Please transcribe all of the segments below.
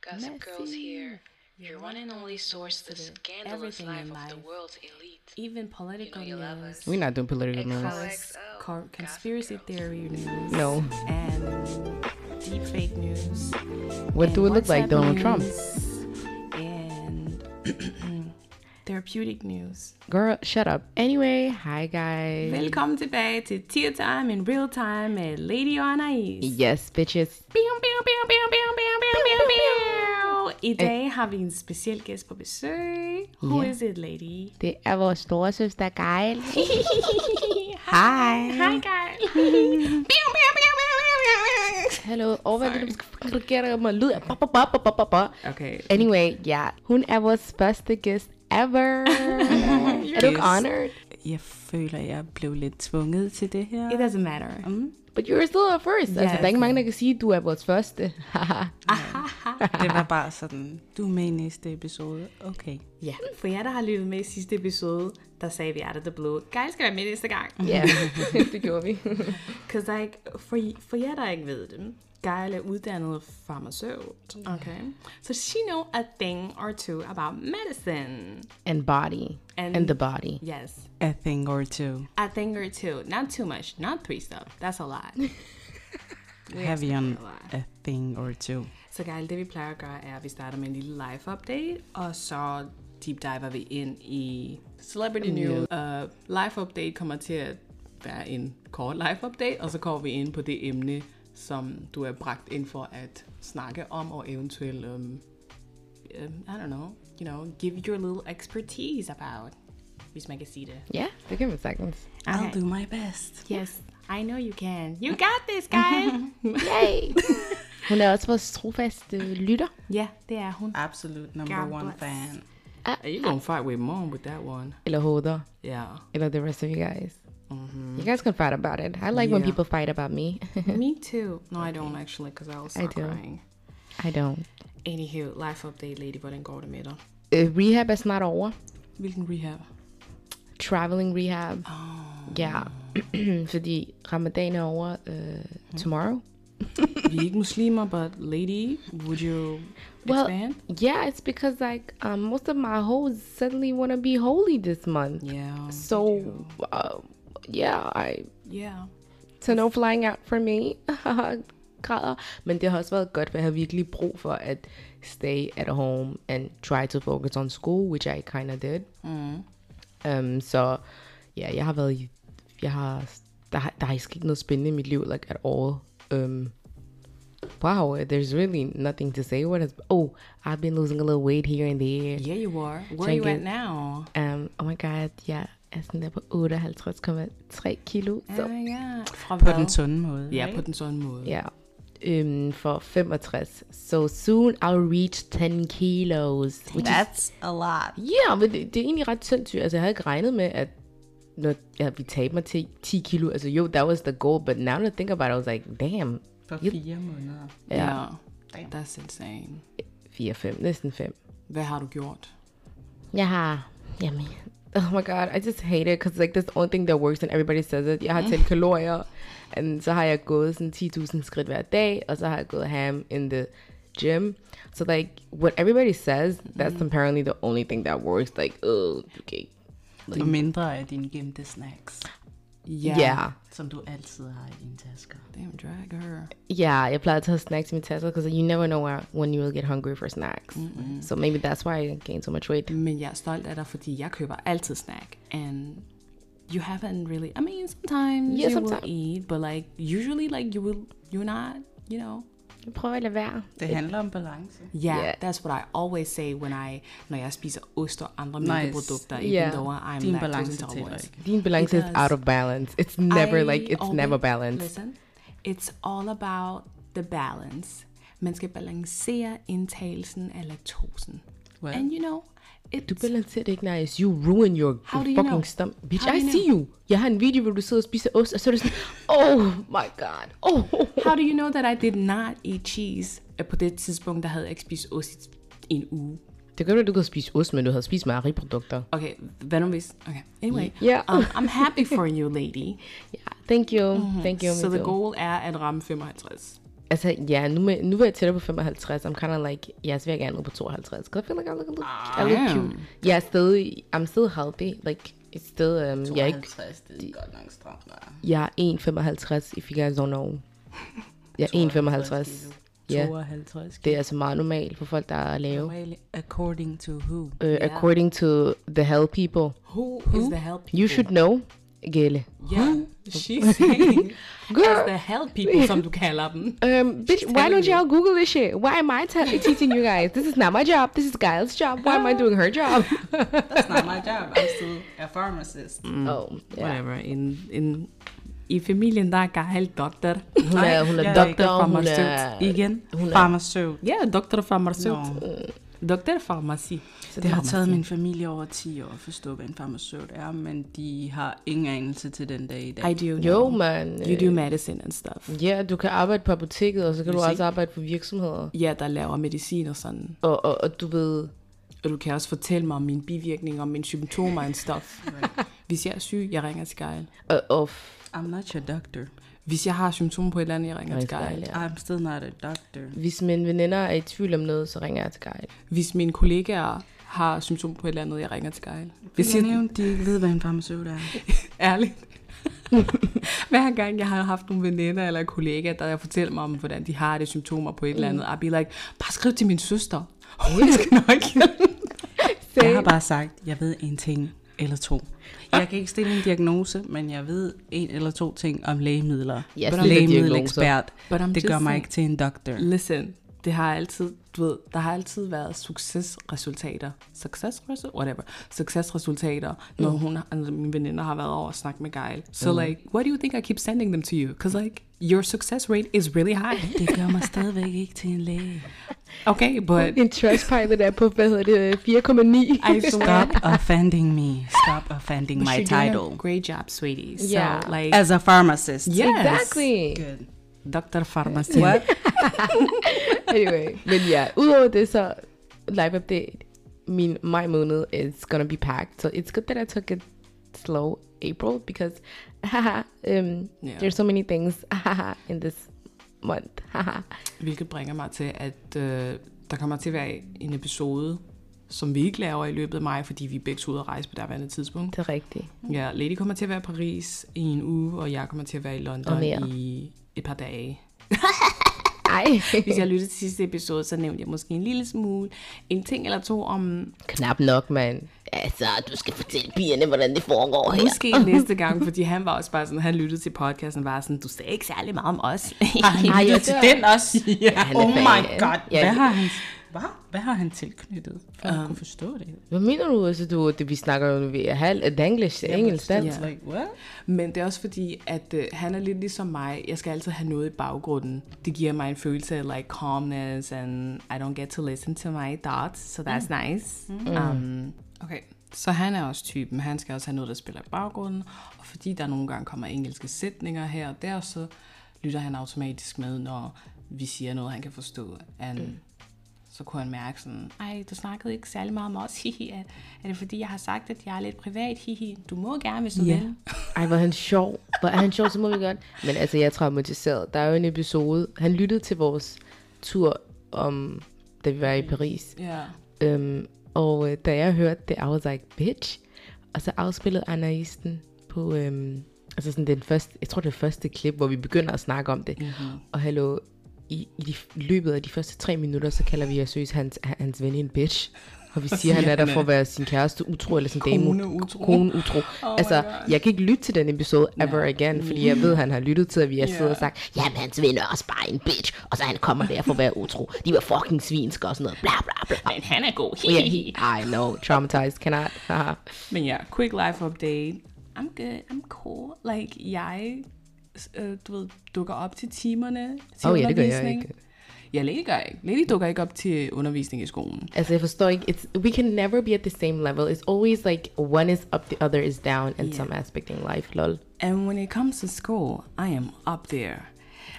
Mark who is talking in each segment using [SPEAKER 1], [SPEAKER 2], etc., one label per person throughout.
[SPEAKER 1] Gossip Girl's
[SPEAKER 2] Messy.
[SPEAKER 1] here. Your one and only source, the scandalous
[SPEAKER 2] Everything
[SPEAKER 1] life
[SPEAKER 2] in
[SPEAKER 1] of the
[SPEAKER 2] life.
[SPEAKER 1] world's elite.
[SPEAKER 2] Even political
[SPEAKER 1] you love
[SPEAKER 2] news,
[SPEAKER 1] us.
[SPEAKER 3] We're not doing political
[SPEAKER 1] Ex-
[SPEAKER 3] news.
[SPEAKER 2] cons-
[SPEAKER 1] XOXO,
[SPEAKER 2] cor-
[SPEAKER 1] Gossip
[SPEAKER 2] conspiracy
[SPEAKER 1] Girl.
[SPEAKER 2] theory news,
[SPEAKER 3] No.
[SPEAKER 2] and deep fake news.
[SPEAKER 3] What do it
[SPEAKER 2] and
[SPEAKER 3] look like,
[SPEAKER 2] WhatsApp
[SPEAKER 3] Donald Trump?
[SPEAKER 2] news, And therapeutic news.
[SPEAKER 3] Girl, shut up. Anyway, hi guys.
[SPEAKER 2] Velkommen tilbage til Tea Time in Real Time med Lady og Anais.
[SPEAKER 3] Yes, bitches.
[SPEAKER 2] Biu, biu, biu, biu, biu, biu, biu, biu, biu.
[SPEAKER 3] Eh.
[SPEAKER 2] I dag har vi en speciel gæst på besøg. Who
[SPEAKER 3] Ja.
[SPEAKER 2] is it, lady?
[SPEAKER 3] Det er vores store søster Geil. Hej.
[SPEAKER 2] Hej, Geil. Biu, biu, biu, biu, biu, biu.
[SPEAKER 3] Hello. Over det, du skal forkere mig. Lyd af bop, bop, bop, bop, bop, bop.
[SPEAKER 2] Okay.
[SPEAKER 3] Anyway, ja. Hun er vores første gæst ever. er du ikke
[SPEAKER 4] Yes.
[SPEAKER 3] honored?
[SPEAKER 4] Jeg føler, jeg blev lidt tvunget til det her.
[SPEAKER 2] It doesn't matter.
[SPEAKER 3] But you're still our first. Yes. Altså,
[SPEAKER 2] Yes.
[SPEAKER 3] der er ikke mange, der kan sige, at du er vores første. Haha.
[SPEAKER 4] Det var bare sådan, du er med i næste episode. Okay.
[SPEAKER 3] Ja.
[SPEAKER 2] For jer, der har lyttet med i sidste episode, der sagde vi out of the blue, Geil skal være med næste gang.
[SPEAKER 3] Ja, det gjorde vi.
[SPEAKER 2] Cause like, for, for jer, der ikke ved det, Geil er uddannet farmaceut, okay? So she know a thing or two about medicine.
[SPEAKER 3] And body.
[SPEAKER 2] And-
[SPEAKER 3] And, the body.
[SPEAKER 2] Yes,
[SPEAKER 4] A thing or two.
[SPEAKER 2] a thing or two. Not too much, not three stuff. That's a lot.
[SPEAKER 4] Have you on a thing or two?
[SPEAKER 2] Så Geil, det vi plejer at gøre, er, at vi starter med en lille live update, og så deep diver vi ind i celebrity news. Uh, live update kommer til at være en kort live update, og så kommer vi ind på det emne, som du er bragt ind for at snakke om, og eventuelt, um, um, I don't know, you know, give your little expertise about, hvis man kan sige det.
[SPEAKER 3] Ja, det kan man sagtens.
[SPEAKER 4] I'll
[SPEAKER 2] Okay.
[SPEAKER 4] do my best.
[SPEAKER 2] Yes, I know you can. You got this, Geil!
[SPEAKER 3] Yay! Hun er også vores trofaste lytter.
[SPEAKER 2] ja, det er hun.
[SPEAKER 4] Absolute number
[SPEAKER 2] God
[SPEAKER 4] one
[SPEAKER 2] bless.
[SPEAKER 4] fan.
[SPEAKER 2] Are you gonna fight with mom with that one?
[SPEAKER 3] Ah. Eller hoder.
[SPEAKER 2] Yeah.
[SPEAKER 3] Eller the rest of you guys. You guys can fight about it. I like when
[SPEAKER 2] Yeah.
[SPEAKER 3] people fight about me.
[SPEAKER 2] Me too. No, I don't actually, because I was
[SPEAKER 3] I do.
[SPEAKER 2] crying.
[SPEAKER 3] I don't.
[SPEAKER 2] Anywho, life update, lady, hvordan går det med dig?
[SPEAKER 3] Øh, Rehab er snart over.
[SPEAKER 2] Hvilken rehab?
[SPEAKER 3] Traveling rehab. Ja. Fordi ramadan er over øh, tomorrow.
[SPEAKER 2] Vi er ikke muslimer, but lady, would you
[SPEAKER 3] Well,
[SPEAKER 2] expand?
[SPEAKER 3] yeah, it's because like um, most of my hoes suddenly want to be holy this month.
[SPEAKER 2] Yeah.
[SPEAKER 3] So, uh, yeah, I
[SPEAKER 2] Yeah.
[SPEAKER 3] So no flying out for me. Græder. Men det har også været godt, for jeg har virkelig brug for at stay at home and try to focus on school, which I kind of did. Um, så ja, jeg har været i, jeg har, der, har- der er ikke sket noget spændende i mit liv, like at all. Um, wow, there's really nothing to say. What has, oh, I've been losing a little weight here and there.
[SPEAKER 2] Yeah, you are. Where
[SPEAKER 3] Thank
[SPEAKER 2] are you at
[SPEAKER 3] you.
[SPEAKER 2] now?
[SPEAKER 3] Um, oh my god, jeg er sådan der på 58,3 kilo. Så
[SPEAKER 2] Oh, yeah. Fra
[SPEAKER 4] På den sunde måde.
[SPEAKER 2] Ja,
[SPEAKER 4] ikke?
[SPEAKER 2] på den sådan måde.
[SPEAKER 3] Ja. Øhm, for 65. So soon I'll reach 10 kilos. Which is,
[SPEAKER 4] That's a lot.
[SPEAKER 3] yeah, men det, det er egentlig ret sindssygt. Altså, jeg havde ikke regnet med, at når jeg vi tabte mig til 10 kilo. Altså, jo, that was the goal, but now that I think about it, I was like, damn.
[SPEAKER 4] På fire måneder.
[SPEAKER 2] Yeah. That's insane.
[SPEAKER 3] 4-5, næsten 5.
[SPEAKER 2] Hvad har du gjort?
[SPEAKER 3] Jeg har, jamen, oh my god, I just hate it, because like, that's the only thing that works, and everybody says it. Jeg har talt kalorier, and så har jeg gået sådan 10.000 skridt hver dag, og så har jeg gået ham in the gym. So like, what everybody says, that's
[SPEAKER 2] Mm-hmm.
[SPEAKER 3] apparently the only thing that works. Like, oh, okay.
[SPEAKER 4] Og mindre af dine gemte snacks,
[SPEAKER 3] Yeah. yeah.
[SPEAKER 4] som du altid har i dine tasker.
[SPEAKER 2] Damn, drag her.
[SPEAKER 3] jeg plejer at tage snacks i min taske, because you never know where- when you will get hungry for snacks. So maybe that's why I gained so much weight.
[SPEAKER 2] Men jeg er stolt af dig, fordi jeg køber altid snack. And you haven't really, I mean, sometimes
[SPEAKER 3] Yeah,
[SPEAKER 2] you
[SPEAKER 3] sometime.
[SPEAKER 2] will eat, but like, usually like you will, you're not, you know.
[SPEAKER 3] Jeg prøver at lade være.
[SPEAKER 4] Det handler om balance.
[SPEAKER 2] Yeah,
[SPEAKER 3] Yeah.
[SPEAKER 2] that's what I always say when I, når jeg spiser ost og andre mælkeprodukter, even
[SPEAKER 3] Yeah.
[SPEAKER 2] though I'm
[SPEAKER 4] Din
[SPEAKER 2] lactose
[SPEAKER 4] balance tæller
[SPEAKER 2] intolerant.
[SPEAKER 4] ikke.
[SPEAKER 3] Din balance is
[SPEAKER 2] Because
[SPEAKER 3] out of balance. It's never
[SPEAKER 2] I
[SPEAKER 3] like, it's
[SPEAKER 2] always-
[SPEAKER 3] never balanced.
[SPEAKER 2] Listen, it's all about the balance. Man skal balancere indtagelsen af laktosen.
[SPEAKER 4] Well.
[SPEAKER 2] And you know, it's,
[SPEAKER 3] Du balancerer det ikke nice. You ruin your
[SPEAKER 2] How do you
[SPEAKER 3] fucking
[SPEAKER 2] know?
[SPEAKER 3] stomach. Bitch,
[SPEAKER 2] How do
[SPEAKER 3] I
[SPEAKER 2] you
[SPEAKER 3] see you. Jeg har en video, hvor du sidder og spiser ost, og så er det sådan, oh my god. Oh.
[SPEAKER 2] How do you know that I did not eat cheese? Øh, På det tidspunkt, der havde jeg ikke spist ost i en uge.
[SPEAKER 3] Det gør, at du kan spise ost, men du havde spist mejeriprodukter.
[SPEAKER 2] Okay, hvad nu hvis? Okay, anyway.
[SPEAKER 3] Yeah.
[SPEAKER 2] Um, I'm happy for you, lady.
[SPEAKER 3] Yeah, thank you. Mm-hmm. Thank you.
[SPEAKER 2] Så so the
[SPEAKER 3] amigo.
[SPEAKER 2] goal er at ramme 55.
[SPEAKER 3] Altså, ja, nu, med, nu er jeg tættere på 55. I'm kind of like, ja, så vil jeg gerne ned på 52. Because I feel like I look, I look, I look
[SPEAKER 2] Um,
[SPEAKER 3] cute. Jeg er stadig, I'm still healthy. Like, it's still, um, jeg er ikke,
[SPEAKER 4] 52, det er godt nok stramt der.
[SPEAKER 3] jeg er 1,55, if you guys don't know. Jeg er 1,55. Ja,
[SPEAKER 4] 52
[SPEAKER 3] det er altså meget normalt for folk, der er lave.
[SPEAKER 4] Well, according to who?
[SPEAKER 3] Uh, According to the hell people,
[SPEAKER 2] Who, is the help people?
[SPEAKER 3] you should know, Gelle.
[SPEAKER 2] Yeah, she's saying
[SPEAKER 3] Girl,
[SPEAKER 2] it's the help people, som du kalder dem.
[SPEAKER 3] Um, bitch, why don't y'all Google this shit? Why am I te- teaching you guys? This is not my job. This is Gail's job. Why am I doing her job?
[SPEAKER 4] That's not my job. I'm still a pharmacist.
[SPEAKER 3] Oh, yeah.
[SPEAKER 2] Whatever. En, en, I familien, der er Gael doktor.
[SPEAKER 3] Hun er, hun er
[SPEAKER 4] jeg er ikke
[SPEAKER 3] doktor, hun
[SPEAKER 2] farmaceut.
[SPEAKER 3] er...
[SPEAKER 4] Igen, farmaceut.
[SPEAKER 2] Ja, yeah, doktor og farmaceut.
[SPEAKER 4] Nå.
[SPEAKER 2] Doktor og farmaci.
[SPEAKER 4] Det
[SPEAKER 3] er
[SPEAKER 4] har taget min familie over 10 år at forstå, hvad en farmaceut er, men de har ingen anelse til den dag i dag.
[SPEAKER 2] I do.
[SPEAKER 3] Jo, man.
[SPEAKER 2] You do medicine and stuff.
[SPEAKER 3] Ja, du kan arbejde på apoteket, og så kan du
[SPEAKER 2] Hvis
[SPEAKER 3] også arbejde på virksomheder.
[SPEAKER 2] Ja, der laver medicin og sådan.
[SPEAKER 3] Og, og, og du ved...
[SPEAKER 2] Og du kan også fortælle mig om mine bivirkninger, om mine symptomer and stuff. Hvis jeg er syg, jeg ringer til Geil.
[SPEAKER 3] Og, og f-
[SPEAKER 4] I'm not your doctor.
[SPEAKER 2] Hvis jeg har symptomer på et eller andet, jeg ringer til Geil.
[SPEAKER 3] ja.
[SPEAKER 4] I'm still not a doctor.
[SPEAKER 3] Hvis mine veninder er i tvivl om noget, så ringer jeg til Geil.
[SPEAKER 2] Hvis mine kollegaer har symptomer på et eller andet, jeg ringer til Geil. Hvis
[SPEAKER 4] jeg
[SPEAKER 2] jeg,
[SPEAKER 4] nævnte, de ikke ved, hvad en farmaceut er.
[SPEAKER 2] ærligt. Hver gang jeg har haft nogle veninder eller kollegaer, der fortæller mig om, hvordan de har det symptomer på et eller andet, I'll be like, bare skriv til min søster. Hun skal nok hjælpe.
[SPEAKER 4] Jeg har bare sagt, jeg ved en ting eller to. Jeg kan ikke stille en diagnose, men jeg ved en eller to ting om lægemidler.
[SPEAKER 3] Jeg
[SPEAKER 4] But
[SPEAKER 3] stiller
[SPEAKER 4] I'm lægemiddelekspert.
[SPEAKER 3] diagnoser.
[SPEAKER 2] But I'm
[SPEAKER 4] Det
[SPEAKER 2] just
[SPEAKER 4] gør mig
[SPEAKER 2] saying-
[SPEAKER 4] ikke til en doktor.
[SPEAKER 2] Listen, det har altid, du ved, der har altid været succesresultater. Succesresultater? Whatever. Succesresultater, når hun, altså mine veninder har været over og snakket med Geil. So like, why do you think I keep sending them to you? Because like, your success rate is really high.
[SPEAKER 4] Det gør mig stadigvæk ikke til en læge.
[SPEAKER 2] Okay, but
[SPEAKER 3] En trustpilot er på, hvad hedder det, 4,9.
[SPEAKER 2] I swear.
[SPEAKER 4] Stop offending me. Stop offending my
[SPEAKER 2] You're doing a
[SPEAKER 4] title.
[SPEAKER 2] Great job, sweetie. So
[SPEAKER 3] Yeah.
[SPEAKER 2] like,
[SPEAKER 4] As a pharmacist.
[SPEAKER 2] yes.
[SPEAKER 3] Exactly.
[SPEAKER 4] Good.
[SPEAKER 2] Dr. Pharmacy.
[SPEAKER 4] What?
[SPEAKER 3] anyway, men ja, udover det så, live update, min maj måned is gonna be packed, so it's good that I took it slow April, because haha, um,
[SPEAKER 2] Yeah.
[SPEAKER 3] there's so many things haha, in this month. Haha.
[SPEAKER 2] Hvilket bringer mig til, at øh, der kommer til at være en episode, som vi ikke laver i løbet af maj, fordi vi er begge to ude at rejse på derværende tidspunkt.
[SPEAKER 3] det er rigtigt.
[SPEAKER 2] Ja, Lady kommer til at være i Paris i en uge, og jeg kommer til at være i
[SPEAKER 3] Og
[SPEAKER 2] London
[SPEAKER 3] mere.
[SPEAKER 2] i et par dage.
[SPEAKER 3] Ej,
[SPEAKER 2] Hvis jeg lyttede til sidste episode, så nævnte jeg måske en lille smule en ting eller to om
[SPEAKER 3] knap nok, mand. Altså, du skal fortælle pigerne, hvordan det foregår her.
[SPEAKER 2] måske næste gang, fordi han var også bare sådan, han lyttede til podcasten og var sådan, du sagde ikke særlig meget om os.
[SPEAKER 3] Ej, jeg dør.
[SPEAKER 4] også.
[SPEAKER 3] Ja, han er
[SPEAKER 4] Oh my
[SPEAKER 3] fan.
[SPEAKER 4] god.
[SPEAKER 3] Ja.
[SPEAKER 4] Hvad har han, hvad? Hvad har han tilknyttet? For um, at kunne forstå det.
[SPEAKER 3] Hvad mener du? Altså, du, det, vi snakker jo ved halv, et engelsk til engelsk dansk.
[SPEAKER 4] It's like, what?
[SPEAKER 2] Men det er også fordi, at øh, han er lidt ligesom mig. Jeg skal altid have noget i baggrunden. Det giver mig en følelse af like calmness, and I don't get to listen to my thoughts, so that's mm. nice. Mm. Um, okay, så han er også typen. Han skal også have noget, der spiller i baggrunden. Og fordi der nogle gange kommer engelske sætninger her og der, så lytter han automatisk med, når vi siger noget, han kan forstå. And mm. Så kunne han mærke sådan, ej, du snakkede ikke særlig meget om os, hihi. Er, er det fordi, jeg har sagt, at jeg er lidt privat, hihi? Du må gerne, hvis du yeah. vil.
[SPEAKER 3] Ej, hvor er han sjov. Hvor er han sjov, så må vi godt. Men altså, jeg er traumatiseret. Der er jo en episode. Han lyttede til vores tur, om, da vi var i Paris.
[SPEAKER 2] Ja.
[SPEAKER 3] Øhm, og øh, da jeg hørte det, I was like, bitch. Og så afspillede Anais den på, øhm, altså sådan den første, jeg tror det er første klip, hvor vi begynder at snakke om det. Mm-hmm. Og hallo, i, i de, løbet af de første tre minutter, så kalder vi Asøs hans, hans ven en bitch. Og vi siger, han er der for at være sin kæreste utro, eller sin dame
[SPEAKER 2] Kone utro.
[SPEAKER 3] Kone utro. Oh altså, jeg kan ikke lytte til den episode ever again, fordi jeg ved, han har lyttet til, at vi har siddet og sagt, jamen hans ven er også bare en bitch, og så han kommer der for at være utro. De var fucking svinsker og sådan noget. Bla bla bla.
[SPEAKER 1] Men han er god.
[SPEAKER 3] Yeah, he, I know, traumatized, cannot. Haha.
[SPEAKER 2] Men ja, quick life update. I'm good, I'm cool. Like, jeg øh, du ved, dukker op til timerne til
[SPEAKER 3] Åh, ja, det gør jeg
[SPEAKER 2] undervisning.
[SPEAKER 3] ikke.
[SPEAKER 2] Ja, Lady gør ikke. Lady dukker ikke op til undervisning i skolen.
[SPEAKER 3] altså, jeg forstår ikke, it's, we can never be at the same level. It's always like one is up, the other is down in some aspect in life, lol.
[SPEAKER 2] And when it comes to school, I am up there.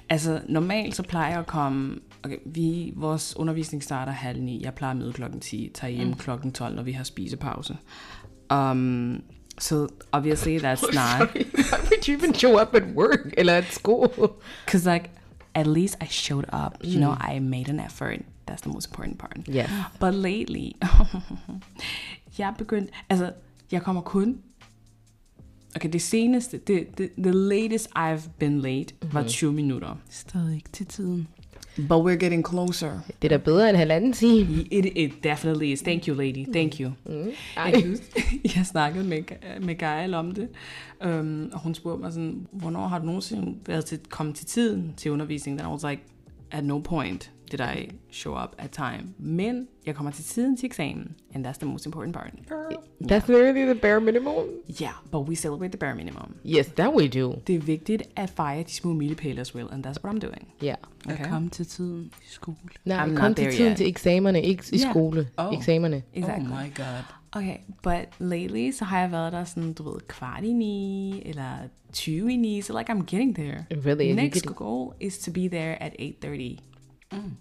[SPEAKER 2] Altså, normalt så plejer jeg at komme... Okay, vi, vores undervisning starter halv ni. Jeg plejer at møde klokken 10, tager hjem mm. klokken 12, når vi har spisepause. Um, so obviously that's not...
[SPEAKER 3] Why would you even show up at work eller at school?
[SPEAKER 2] Because like at least I showed up. You know, I made an effort. That's the most important part.
[SPEAKER 3] Yes.
[SPEAKER 2] But lately, jeg begyndte, altså, jeg kommer kun Okay, det seneste, det, det, the latest I've been late mm-hmm. var 20 minutter.
[SPEAKER 4] Stadig ikke til tiden.
[SPEAKER 2] But we're getting closer.
[SPEAKER 3] Det er da bedre end halvanden time.
[SPEAKER 2] It, it definitely is. Thank you, lady. Thank you. Mm. Jeg, kan huske, jeg snakkede med, med Gael om det, um, og hun spurgte mig sådan, hvornår har du nogensinde været til, kommet til tiden til undervisningen? And I was like, at no point did I show up at time. Men jeg kommer til tiden til eksamen, and that's the most important part.
[SPEAKER 3] That's literally the bare minimum.
[SPEAKER 2] Yeah, but we celebrate the bare minimum.
[SPEAKER 3] Yes, that we do.
[SPEAKER 2] Det er vigtigt at fejre de små milepæle as well, and that's what I'm doing.
[SPEAKER 3] Yeah.
[SPEAKER 4] Jeg
[SPEAKER 2] Okay.
[SPEAKER 4] kom til tiden i skole.
[SPEAKER 3] Nej,
[SPEAKER 2] I'm
[SPEAKER 3] I'm
[SPEAKER 2] not
[SPEAKER 3] kun til
[SPEAKER 2] there
[SPEAKER 3] tiden
[SPEAKER 2] yet.
[SPEAKER 3] til eksamerne, ikke i
[SPEAKER 2] Ja.
[SPEAKER 3] skole.
[SPEAKER 4] Oh.
[SPEAKER 3] Eksamerne.
[SPEAKER 2] Exactly.
[SPEAKER 4] Oh my god.
[SPEAKER 2] Okay, but lately, så har jeg været der sådan, du ved, kvart i ni, eller 20 i ni, so like I'm getting there.
[SPEAKER 3] Really, you
[SPEAKER 2] Next
[SPEAKER 3] getting-
[SPEAKER 2] goal is to be there at 8.30.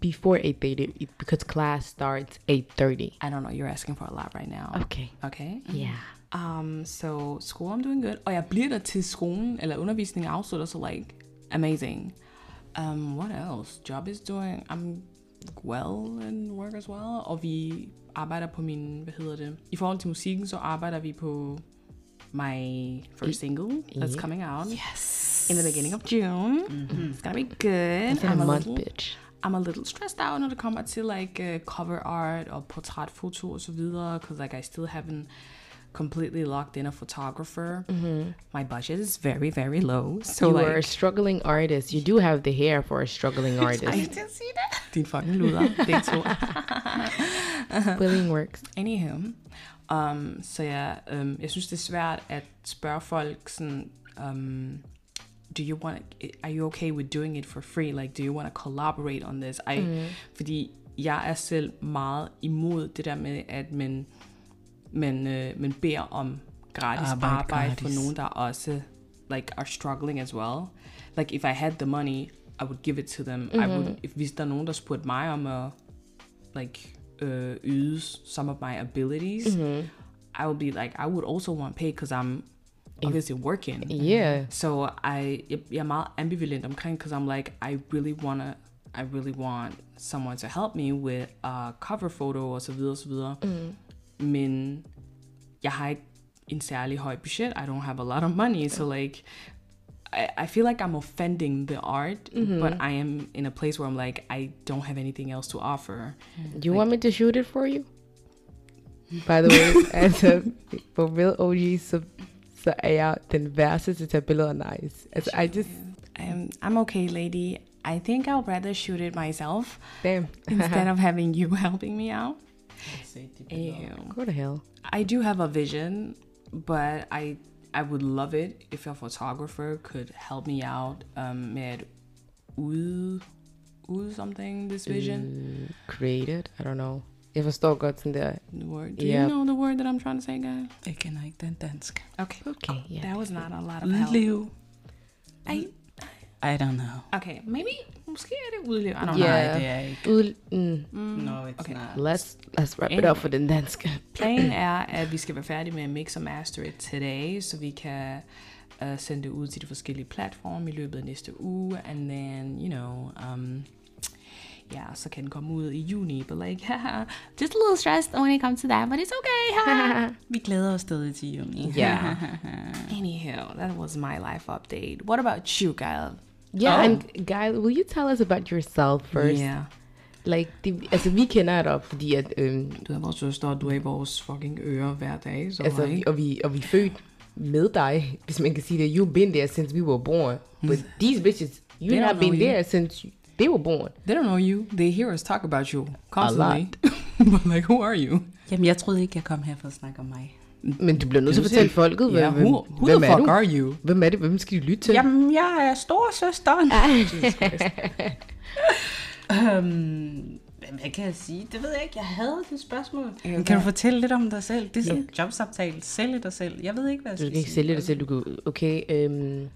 [SPEAKER 3] Before 8.30, because class starts 8.30.
[SPEAKER 2] I don't know, you're asking for a lot right now.
[SPEAKER 3] Okay.
[SPEAKER 2] Okay?
[SPEAKER 3] Yeah.
[SPEAKER 2] Um, so, school, I'm doing good. Oh, Og jeg bliver der til skolen, eller undervisningen afslutter, så like, amazing. Um, what else? Job is doing, I'm well and work as well. Og vi arbejder på min, hvad hedder det? I forhold til musikken, så arbejder vi på my first single
[SPEAKER 3] Mm-hmm.
[SPEAKER 2] that's coming out
[SPEAKER 4] Yes.
[SPEAKER 2] in the beginning of June. It's gonna be good.
[SPEAKER 3] It's in a month,
[SPEAKER 2] little,
[SPEAKER 3] bitch.
[SPEAKER 2] I'm a little stressed out når det kommer til like uh, cover art og portrætfoto og så videre, because like I still haven't completely locked in a photographer. My budget is very very low, so
[SPEAKER 3] Mm-hmm. you
[SPEAKER 2] like
[SPEAKER 3] are a struggling artist. You do have the hair for a struggling artist.
[SPEAKER 4] didn't see that.
[SPEAKER 2] din fucking luder, begge to.
[SPEAKER 3] Quilling works.
[SPEAKER 2] Anywho, um, så jeg, um, jeg synes det er svært at spørge folk sådan, um, do you want, are you okay with doing it for free? Like, do you want to collaborate on this? I, mm. Fordi jeg er selv meget imod det der med, at man, man, øh, man beder om gratis
[SPEAKER 4] Arbejde
[SPEAKER 2] arbejde, arbejde
[SPEAKER 4] gratis.
[SPEAKER 2] for nogen, der også like are struggling as well. Like, if I had the money, I would give it to them. Mm-hmm. I would, if, hvis der er nogen, der spurgte mig om at like uh, use some of my abilities, I would be like, I would also want paid because I'm obviously working.
[SPEAKER 3] Yeah.
[SPEAKER 2] So I, jeg jeg er meget ambivalent omkring, because I'm like, I really wanna, I really want someone to help me with a cover photo og så videre og så videre. Mm. Men jeg har ikke en særlig høj budget. I don't have a lot of money, so like, I, I feel like I'm offending the art, but I am in a place where I'm like, I don't have anything else to offer.
[SPEAKER 3] You want me to shoot it for you? By the way, altså, for real OG, så, så er jeg den værste til at tage billeder nice. Altså, I just,
[SPEAKER 2] I'm, Um, I'm okay, lady. I think I'll rather shoot it myself
[SPEAKER 3] damn,
[SPEAKER 2] instead of having you helping me out. Anywho.
[SPEAKER 3] go to hell.
[SPEAKER 2] I do have a vision, but I I would love it if a photographer could help me out um, med at ude, ude something this vision.
[SPEAKER 3] Created, I don't know. Jeg forstår godt sådan der,
[SPEAKER 2] The word. Do
[SPEAKER 3] Yeah.
[SPEAKER 2] you know the word that I'm trying to say, guy?
[SPEAKER 4] Jeg kender ikke den danske.
[SPEAKER 2] Okay.
[SPEAKER 3] okay, yeah.
[SPEAKER 2] That was not a lot of help.
[SPEAKER 4] Udliv.
[SPEAKER 2] I,
[SPEAKER 4] I don't know.
[SPEAKER 2] okay, maybe måske er det udliv. I don't know.
[SPEAKER 3] Yeah.
[SPEAKER 4] Nej, det er ikke.
[SPEAKER 3] Ud, mm,
[SPEAKER 4] No, it's okay. not.
[SPEAKER 3] let's, let's wrap it up for den danske.
[SPEAKER 2] Planen er, at vi skal være færdige med at mix og master it today, så vi kan uh, sende det ud til de forskellige platforme i løbet af næste uge, and then, you know, um, ja, så kan den komme ud i juni, but like, haha, just a little stressed when it comes to that, but it's okay, haha.
[SPEAKER 4] Vi glæder os stadig til juni.
[SPEAKER 3] Yeah.
[SPEAKER 2] Anyhow, that was my life update. What about you, Gael?
[SPEAKER 3] Yeah, and guys, will you tell us about yourself first?
[SPEAKER 2] Yeah.
[SPEAKER 3] Like, det, altså, vi kender dig, fordi at, øhm,
[SPEAKER 2] Du er vores søster, og du er i vores fucking ører hver dag, så
[SPEAKER 3] Altså, vi, og, vi, og vi er født med dig, hvis man kan sige det. You've been there since we were born. But these bitches, you
[SPEAKER 2] They don't
[SPEAKER 3] not been
[SPEAKER 2] know you.
[SPEAKER 3] there since you- they were born.
[SPEAKER 2] They don't know you. They hear us talk about you constantly. but like, who are you?
[SPEAKER 4] Jamen, jeg troede ikke, jeg kom her for at snakke om mig.
[SPEAKER 3] Men du bliver nødt til at fortælle folket,
[SPEAKER 2] Ja,
[SPEAKER 3] hvem,
[SPEAKER 2] who, who
[SPEAKER 3] hvem
[SPEAKER 2] the
[SPEAKER 3] er
[SPEAKER 2] fuck
[SPEAKER 3] du?
[SPEAKER 2] are you?
[SPEAKER 3] Hvem er det? Hvem skal du lytte til?
[SPEAKER 4] Jamen, jeg er storsøsteren. øhm, hvad kan jeg sige? Det ved jeg ikke. Jeg havde det spørgsmål. Kan du fortælle lidt om dig selv? Det er sådan en jobsamtale. Sælge dig selv. Jeg ved ikke, hvad jeg
[SPEAKER 3] Du
[SPEAKER 4] skal
[SPEAKER 3] kan ikke
[SPEAKER 4] sige. Altså,
[SPEAKER 3] sælge dig selv. Du kan, okay, øhm,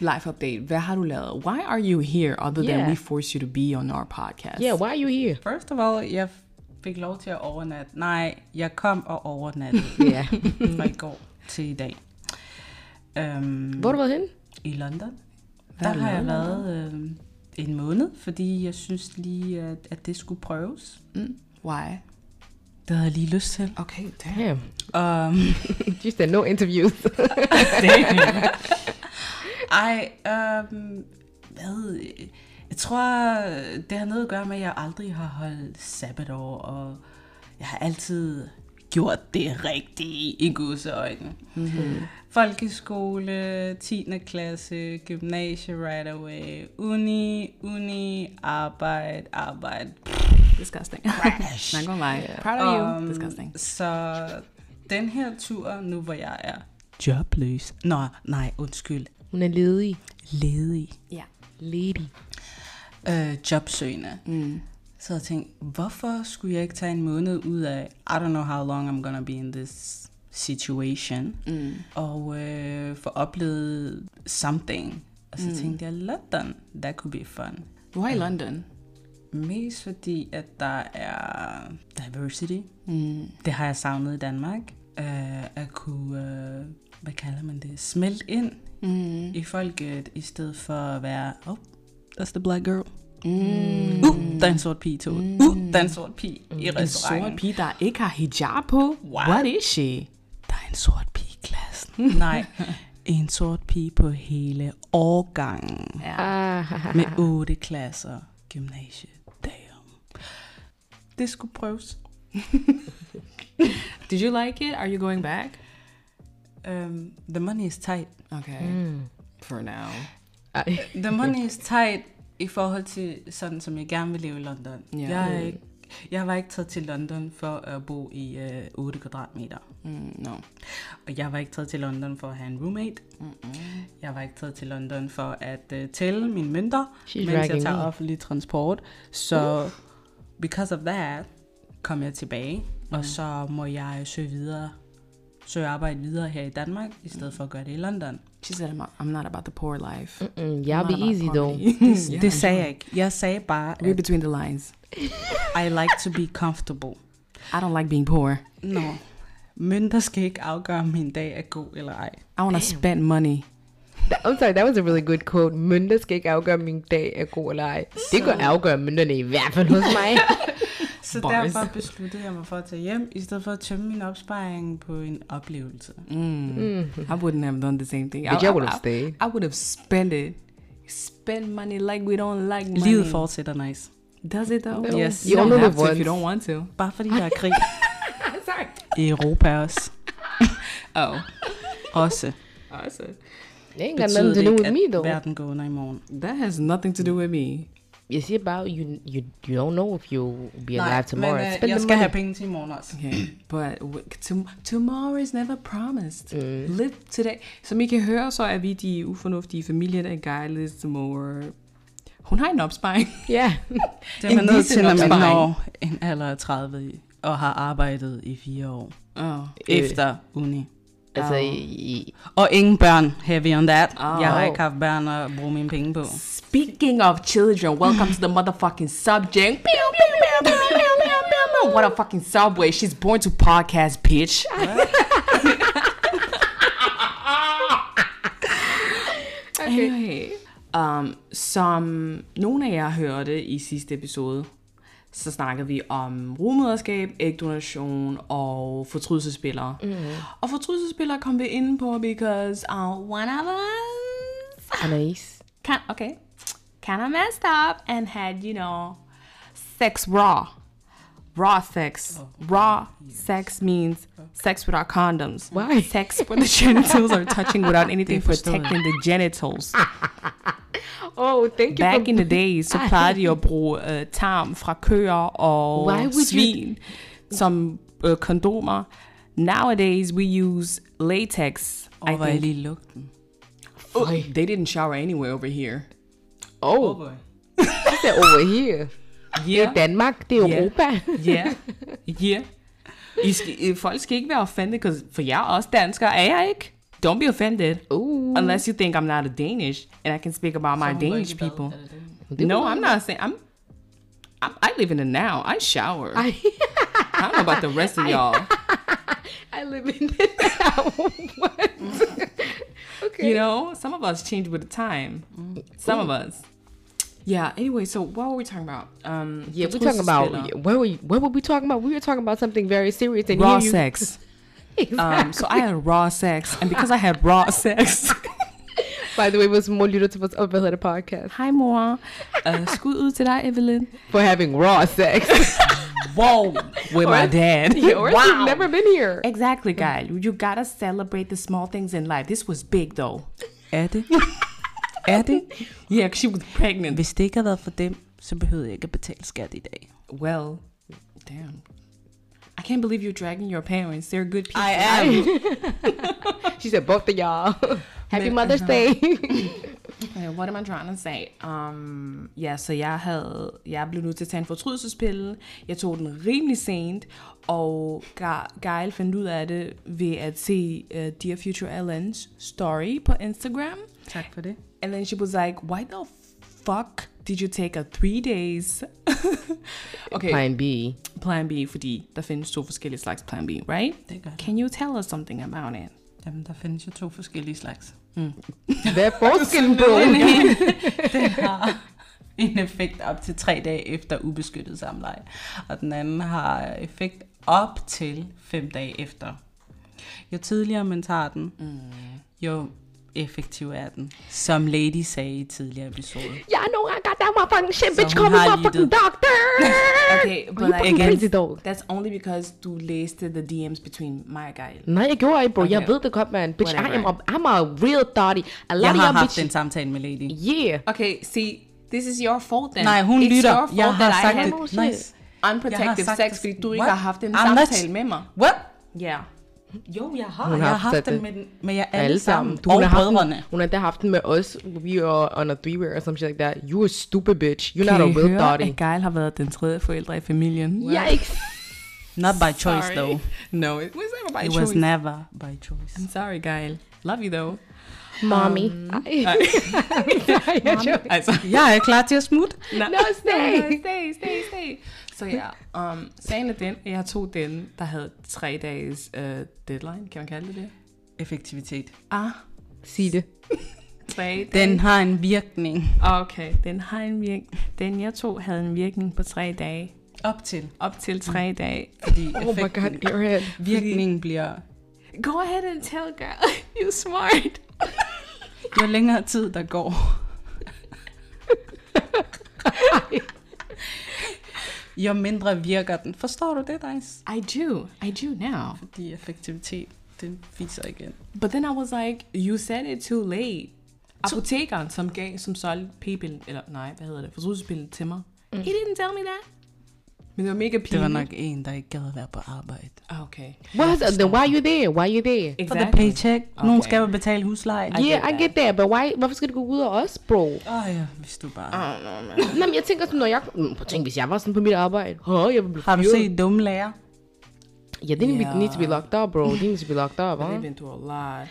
[SPEAKER 2] Life update. Hvad har du lavet? Why are you here other
[SPEAKER 3] Yeah.
[SPEAKER 2] than we force you to be on our podcast?
[SPEAKER 3] yeah, why are you here?
[SPEAKER 4] First of all, jeg fik lov til at overnatte. Nej, jeg kom og overnattede
[SPEAKER 3] Yeah.
[SPEAKER 4] fra i går til i dag. Øhm,
[SPEAKER 3] Hvor har du været henne?
[SPEAKER 4] I London. Der har jeg været øh, en måned, fordi jeg synes lige, at, at det skulle prøves.
[SPEAKER 2] Mm. Why?
[SPEAKER 4] Det havde jeg lige lyst til.
[SPEAKER 2] Okay, damn.
[SPEAKER 3] Damn.
[SPEAKER 4] Um,
[SPEAKER 3] Just there, no interviews.
[SPEAKER 4] ej, um, hvad? Jeg tror, det har noget at gøre med, at jeg aldrig har holdt sabbatår, og jeg har altid gjort det rigtige i Guds øjne. Mm-hmm. Folkeskole, 10. klasse, gymnasie right away, uni, uni, arbejde, arbejde.
[SPEAKER 2] Disgusting.
[SPEAKER 4] Crash.
[SPEAKER 2] Not gonna lie. Proud of you.
[SPEAKER 4] Øhm,
[SPEAKER 2] Disgusting.
[SPEAKER 4] Så den her tur, nu hvor jeg er jobløs. Nå, nej, undskyld.
[SPEAKER 3] Hun er ledig.
[SPEAKER 4] Ledig.
[SPEAKER 2] Yeah.
[SPEAKER 3] Ledig.
[SPEAKER 4] Øh, jobsøgende. Mm. Så jeg tænkte, hvorfor skulle jeg ikke tage en måned ud af, I don't know how long I'm gonna be in this situation, mm. og øh, få oplevet something. Og så mm. tænkte jeg, London, that could be fun.
[SPEAKER 2] Why London?
[SPEAKER 4] Mest fordi, at der er diversity. Mm. Det har jeg savnet i Danmark. Uh, at kunne, uh, hvad kalder man det, smelte ind mm. i folket, i stedet for at være, oh, that's the black girl. Mm. Uh, der er en sort pige i toget. Mm. Uh, der er en sort pige mm. i
[SPEAKER 2] En sort
[SPEAKER 4] restauranten.
[SPEAKER 2] pige, der ikke har hijab på?
[SPEAKER 4] Wow.
[SPEAKER 2] What is she?
[SPEAKER 4] Der er en sort pige i klassen. Nej, en sort pige på hele årgangen.
[SPEAKER 3] Ah,
[SPEAKER 4] Med otte klasser gymnasie. Damn. Det skulle prøves.
[SPEAKER 2] Did you like it? Are you going back?
[SPEAKER 4] Um, the money is tight.
[SPEAKER 2] Okay.
[SPEAKER 3] Hmm.
[SPEAKER 2] For now.
[SPEAKER 3] Ej.
[SPEAKER 4] The money is tight i forhold til sådan, som jeg gerne vil leve i London.
[SPEAKER 2] Ja. Mm.
[SPEAKER 4] Yeah. Jeg, er ikke, jeg var ikke taget til London for at bo i øh, 8 kvadratmeter.
[SPEAKER 2] Mm, no.
[SPEAKER 4] Og jeg var ikke taget til London for at have en roommate. Jeg var ikke taget til London for at øh, tælle mine mønter,
[SPEAKER 3] She's
[SPEAKER 4] mens jeg
[SPEAKER 3] ragging
[SPEAKER 4] tager
[SPEAKER 3] me.
[SPEAKER 4] offentlig transport.
[SPEAKER 2] Uh.
[SPEAKER 4] Så because of that, kom jeg tilbage.
[SPEAKER 2] Mm.
[SPEAKER 4] Og så må jeg søge videre søge arbejde videre her i Danmark, i
[SPEAKER 2] Mm.
[SPEAKER 4] stedet for at gøre det i London.
[SPEAKER 2] She said, I'm not, I'm not about the poor life.
[SPEAKER 3] Mm, y'all be
[SPEAKER 2] Not about
[SPEAKER 3] easy though.
[SPEAKER 2] poverty.
[SPEAKER 4] Det, det sagde jeg ikke. Jeg sagde bare,
[SPEAKER 2] Read between the lines.
[SPEAKER 4] I like to be comfortable.
[SPEAKER 2] I don't like being poor.
[SPEAKER 4] Nå, no. mønter skal ikke afgøre, om min dag er god eller ej.
[SPEAKER 2] I want to spend money.
[SPEAKER 3] That, I'm sorry, that was a really good quote. Mønter skal ikke afgøre, om min dag er god eller ej. Det kan afgøre mønterne i hvert fald hos mig.
[SPEAKER 4] Så
[SPEAKER 2] Boys.
[SPEAKER 4] derfor besluttede jeg mig for at tage hjem, i stedet for at tømme min opsparing på en oplevelse.
[SPEAKER 2] Mm. I wouldn't have done the same thing.
[SPEAKER 3] Mm. But
[SPEAKER 2] I,
[SPEAKER 3] y'all would
[SPEAKER 2] I-
[SPEAKER 3] have stayed.
[SPEAKER 2] I would have spent it. Spend money like we don't like money.
[SPEAKER 4] Livet fortsætter nice.
[SPEAKER 2] Does it though?
[SPEAKER 4] No. Yes.
[SPEAKER 2] You
[SPEAKER 3] You
[SPEAKER 2] don't
[SPEAKER 3] only
[SPEAKER 2] have
[SPEAKER 3] live
[SPEAKER 2] to if you
[SPEAKER 3] once.
[SPEAKER 2] don't want to.
[SPEAKER 4] Bare fordi der er krig
[SPEAKER 3] sorry.
[SPEAKER 4] i Europa også.
[SPEAKER 2] Oh.
[SPEAKER 4] også.
[SPEAKER 2] Awesome.
[SPEAKER 3] Det ain't got
[SPEAKER 4] Betyder
[SPEAKER 3] nothing to
[SPEAKER 4] det
[SPEAKER 3] do
[SPEAKER 4] ikke,
[SPEAKER 3] with me
[SPEAKER 4] at
[SPEAKER 3] though.
[SPEAKER 4] verden går under i morgen.
[SPEAKER 2] That has nothing to do with me.
[SPEAKER 3] It's about you, you, you don't know if you'll be alive tomorrow.
[SPEAKER 4] men øh,
[SPEAKER 3] Spend
[SPEAKER 4] jeg
[SPEAKER 3] the
[SPEAKER 4] skal have
[SPEAKER 3] money.
[SPEAKER 4] penge til i morgen også.
[SPEAKER 2] Okay, but w- tom- tomorrow is never promised.
[SPEAKER 4] Mm.
[SPEAKER 2] Live today. Som I kan høre, så er vi de ufornuftige familier, der guides the more. Hun har en opsparing.
[SPEAKER 3] Ja.
[SPEAKER 4] Det er man nødt
[SPEAKER 2] decent
[SPEAKER 4] til, når man
[SPEAKER 2] opsparing.
[SPEAKER 4] når en alder af 30 i- og har arbejdet i fire år.
[SPEAKER 2] Oh.
[SPEAKER 4] Efter uni.
[SPEAKER 3] Altså, i,
[SPEAKER 4] Og ingen børn, heavy on that.
[SPEAKER 2] Au.
[SPEAKER 4] Jeg har ikke haft børn at bruge mine penge på.
[SPEAKER 2] Speaking of children, welcome to the motherfucking subject. Pew, pew, pew, pew, pew, pew, pew, pew. What a fucking subway. She's born to podcast, bitch. Anyway, um, som nogle af jer hørte i sidste episode, så snakkede vi om rummederskab, ægdonation og fortrydelsespillere. Mm. Og fortrydelsespillere kom vi ind på, because uh, one of us
[SPEAKER 3] Anais.
[SPEAKER 2] kind okay kind of messed up and had you know sex raw raw sex raw sex means sex without condoms
[SPEAKER 3] Why?
[SPEAKER 2] sex where the genitals are touching without anything
[SPEAKER 4] forstår jeg.
[SPEAKER 2] protecting the genitals
[SPEAKER 3] Ah, Oh, thank you
[SPEAKER 2] back
[SPEAKER 3] for...
[SPEAKER 2] in the days så plejede de at bruge uh, tarm fra køer og
[SPEAKER 3] Why would you-
[SPEAKER 2] svin som uh, kondomer nowadays we use latex
[SPEAKER 4] Og hvor
[SPEAKER 2] I
[SPEAKER 4] jeg
[SPEAKER 2] think.
[SPEAKER 4] lige lugten.
[SPEAKER 2] Oh, they didn't shower anywhere over here
[SPEAKER 3] Oh, det er over here. Det er Danmark, det er
[SPEAKER 2] Ja.
[SPEAKER 3] Europa.
[SPEAKER 2] Ja, ja. I skal, I- folk skal ikke være offended, 'cause- for jeg er også dansker, er jeg ikke? Don't be offended.
[SPEAKER 3] Uh,
[SPEAKER 2] Unless you think I'm not a Danish, and I can speak about my Danish people. No, I'm not saying, I'm, I'm, I live in the now. I shower. I,
[SPEAKER 3] I,
[SPEAKER 2] don't know about the rest of y'all.
[SPEAKER 3] I live in the now. What? okay. Mm.
[SPEAKER 2] You know, some of us change with the time. Some of us. Yeah. Anyway, so what were we talking about? Um,
[SPEAKER 3] Yeah, we're talking about what were you, what were we talking about? We were talking about something very serious and
[SPEAKER 2] raw
[SPEAKER 3] here you-
[SPEAKER 2] sex.
[SPEAKER 3] Exactly.
[SPEAKER 2] Um, so I had raw sex, and because I had raw sex,
[SPEAKER 3] By the way, it was more lytter til vores overhørte podcast
[SPEAKER 2] hej mor, uh, skud ud til dig, Evelyn,
[SPEAKER 3] for having raw sex.
[SPEAKER 2] wow, with my dad.
[SPEAKER 3] Or else you've never been here.
[SPEAKER 2] Exactly, guy. You gotta celebrate the small things in life. This was big, though.
[SPEAKER 4] Er det? er det?
[SPEAKER 2] Yeah, 'cause she was pregnant.
[SPEAKER 4] Hvis det ikke havde været for dem, så behøvede jeg ikke at betale skat i dag.
[SPEAKER 2] Well, damn. I can't believe you're dragging your parents. They're good people.
[SPEAKER 4] am.
[SPEAKER 3] She said both of y'all. Happy
[SPEAKER 2] Men-
[SPEAKER 3] Mother's Day.
[SPEAKER 2] Okay, what am I trying to say? Um, ja, så jeg havde, jeg blev nødt til at tage en fortrydelsespille. Jeg tog den rimelig sent, og Ga- Gail fandt ud af det ved at se uh, Dear Future Ellen's story på Instagram.
[SPEAKER 4] Tak for det.
[SPEAKER 2] And then she was like, why the fuck did you take a three days? okay,
[SPEAKER 3] Plan
[SPEAKER 2] plan.
[SPEAKER 3] B.
[SPEAKER 2] plan B, fordi der findes to forskellige slags plan B, right?
[SPEAKER 4] Det gør det.
[SPEAKER 2] Can you tell us something about it?
[SPEAKER 4] Jamen, der findes jo to forskellige slags.
[SPEAKER 3] Hvad er forskellen på?
[SPEAKER 4] Den har en effekt op til tre dage efter ubeskyttet samleje, og den anden har effekt op til fem dage efter. Jo tidligere man tager den, mm. jo effektiv er den. Som Lady sagde i tidligere episode.
[SPEAKER 3] Y'all know I got that motherfucking shit, bitch.
[SPEAKER 4] hun
[SPEAKER 3] Call me
[SPEAKER 4] har lige
[SPEAKER 3] motherfucking
[SPEAKER 4] det.
[SPEAKER 3] doctor.
[SPEAKER 2] Okay, but
[SPEAKER 3] you fucking
[SPEAKER 2] again,
[SPEAKER 3] crazy dog.
[SPEAKER 2] That's only because du læste the DM's between mig og Gail.
[SPEAKER 3] Nej, jeg gjorde ikke, bro. Jeg
[SPEAKER 2] Okay.
[SPEAKER 3] ved det godt, man. Bitch, I
[SPEAKER 2] Whatever.
[SPEAKER 3] am a, I'm a real thotty. A lot
[SPEAKER 4] Jeg
[SPEAKER 3] of
[SPEAKER 4] har
[SPEAKER 3] y'all
[SPEAKER 4] haft en
[SPEAKER 3] bitches.
[SPEAKER 4] samtale med Lady.
[SPEAKER 3] Yeah.
[SPEAKER 2] Okay, see, this is your fault then.
[SPEAKER 4] Nej, hun
[SPEAKER 2] It's
[SPEAKER 4] lytter.
[SPEAKER 2] Your fault
[SPEAKER 4] Jeg har
[SPEAKER 2] that I
[SPEAKER 4] sagt
[SPEAKER 2] had
[SPEAKER 4] det.
[SPEAKER 3] Bullshit.
[SPEAKER 4] Nice. Jeg har
[SPEAKER 2] unprotective
[SPEAKER 4] sagt
[SPEAKER 2] sex,
[SPEAKER 4] det.
[SPEAKER 2] fordi du ikke
[SPEAKER 4] What?
[SPEAKER 2] har haft en
[SPEAKER 4] I'm not-
[SPEAKER 2] samtale med mig.
[SPEAKER 4] What?
[SPEAKER 2] Ja.
[SPEAKER 4] Jo, jeg har.
[SPEAKER 3] Hun
[SPEAKER 4] jeg
[SPEAKER 3] har
[SPEAKER 4] har
[SPEAKER 3] haft
[SPEAKER 4] haft
[SPEAKER 3] det.
[SPEAKER 4] den med, den- med jer alle,
[SPEAKER 3] Alle sammen.
[SPEAKER 4] sammen.
[SPEAKER 3] Du, hun,
[SPEAKER 4] og
[SPEAKER 3] har haft den,
[SPEAKER 4] brødrene.
[SPEAKER 3] hun har da haft den med os. We are on a three-way or some shit like that. You a stupid bitch. You're not a
[SPEAKER 2] I
[SPEAKER 3] real thotty.
[SPEAKER 2] at Gail har været den tredje forældre i familien?
[SPEAKER 3] Yikes.
[SPEAKER 4] Not by choice, though.
[SPEAKER 2] No, it was never by
[SPEAKER 4] It
[SPEAKER 2] choice.
[SPEAKER 4] was never by choice.
[SPEAKER 2] I'm sorry, Gail. Love you though.
[SPEAKER 3] Mommy. Ej. Ej, jeg joker.
[SPEAKER 2] Altså,
[SPEAKER 4] Jeg er klar til at smutte.
[SPEAKER 2] nej.
[SPEAKER 3] No, stay.
[SPEAKER 2] No, stay, stay, stay. Så ja, um, sagen er den, at jeg tog den, der havde tre dages uh, deadline, kan man kalde det det?
[SPEAKER 4] Effektivitet.
[SPEAKER 2] Ah,
[SPEAKER 3] Sig det.
[SPEAKER 2] tre
[SPEAKER 4] Den har en virkning.
[SPEAKER 2] Okay, den har en virkning. Den jeg tog havde en virkning på tre dage.
[SPEAKER 4] Op til.
[SPEAKER 2] Op til tre dage.
[SPEAKER 4] Fordi
[SPEAKER 3] Oh my god,
[SPEAKER 4] effekten,
[SPEAKER 3] your head.
[SPEAKER 4] virkningen bliver...
[SPEAKER 2] Go ahead and tell girl, you smart.
[SPEAKER 4] Jo længere tid der går, jo mindre virker den. Forstår du det, Dice?
[SPEAKER 2] I do, I do now.
[SPEAKER 4] Fordi effektivitet, den viser igen.
[SPEAKER 2] But then I was like, you said it too late. Apotekeren, som gav, som solgte p-pillen, eller nej, hvad hedder det, fortrydelsespillen til mig. Mm. He didn't tell me that. Men det var mega pinligt.
[SPEAKER 4] Det var nok en, der ikke gad at være på arbejde.
[SPEAKER 2] Ah, Okay.
[SPEAKER 3] What? Then why you there? Why you there?
[SPEAKER 4] For the paycheck. Okay. Nogen
[SPEAKER 2] Okay.
[SPEAKER 4] skal jo betale husleje. Åh
[SPEAKER 3] Yeah, I get that, but why, hvorfor skal det gå ud af os, bro?
[SPEAKER 4] oh, ja, hvis du bare...
[SPEAKER 2] I don't know, man.
[SPEAKER 3] Nå, men jeg tænker sådan, når jeg... Mm, prøv at tænke, hvis jeg var sådan på mit arbejde. Hå, jeg ville blive
[SPEAKER 4] Har du
[SPEAKER 3] fyret.
[SPEAKER 4] set dumme lærer?
[SPEAKER 3] Ja, det yeah.
[SPEAKER 2] Ja.
[SPEAKER 3] need to be locked up, bro. Det need to be locked up,
[SPEAKER 2] They've
[SPEAKER 3] huh?
[SPEAKER 2] been through a lot.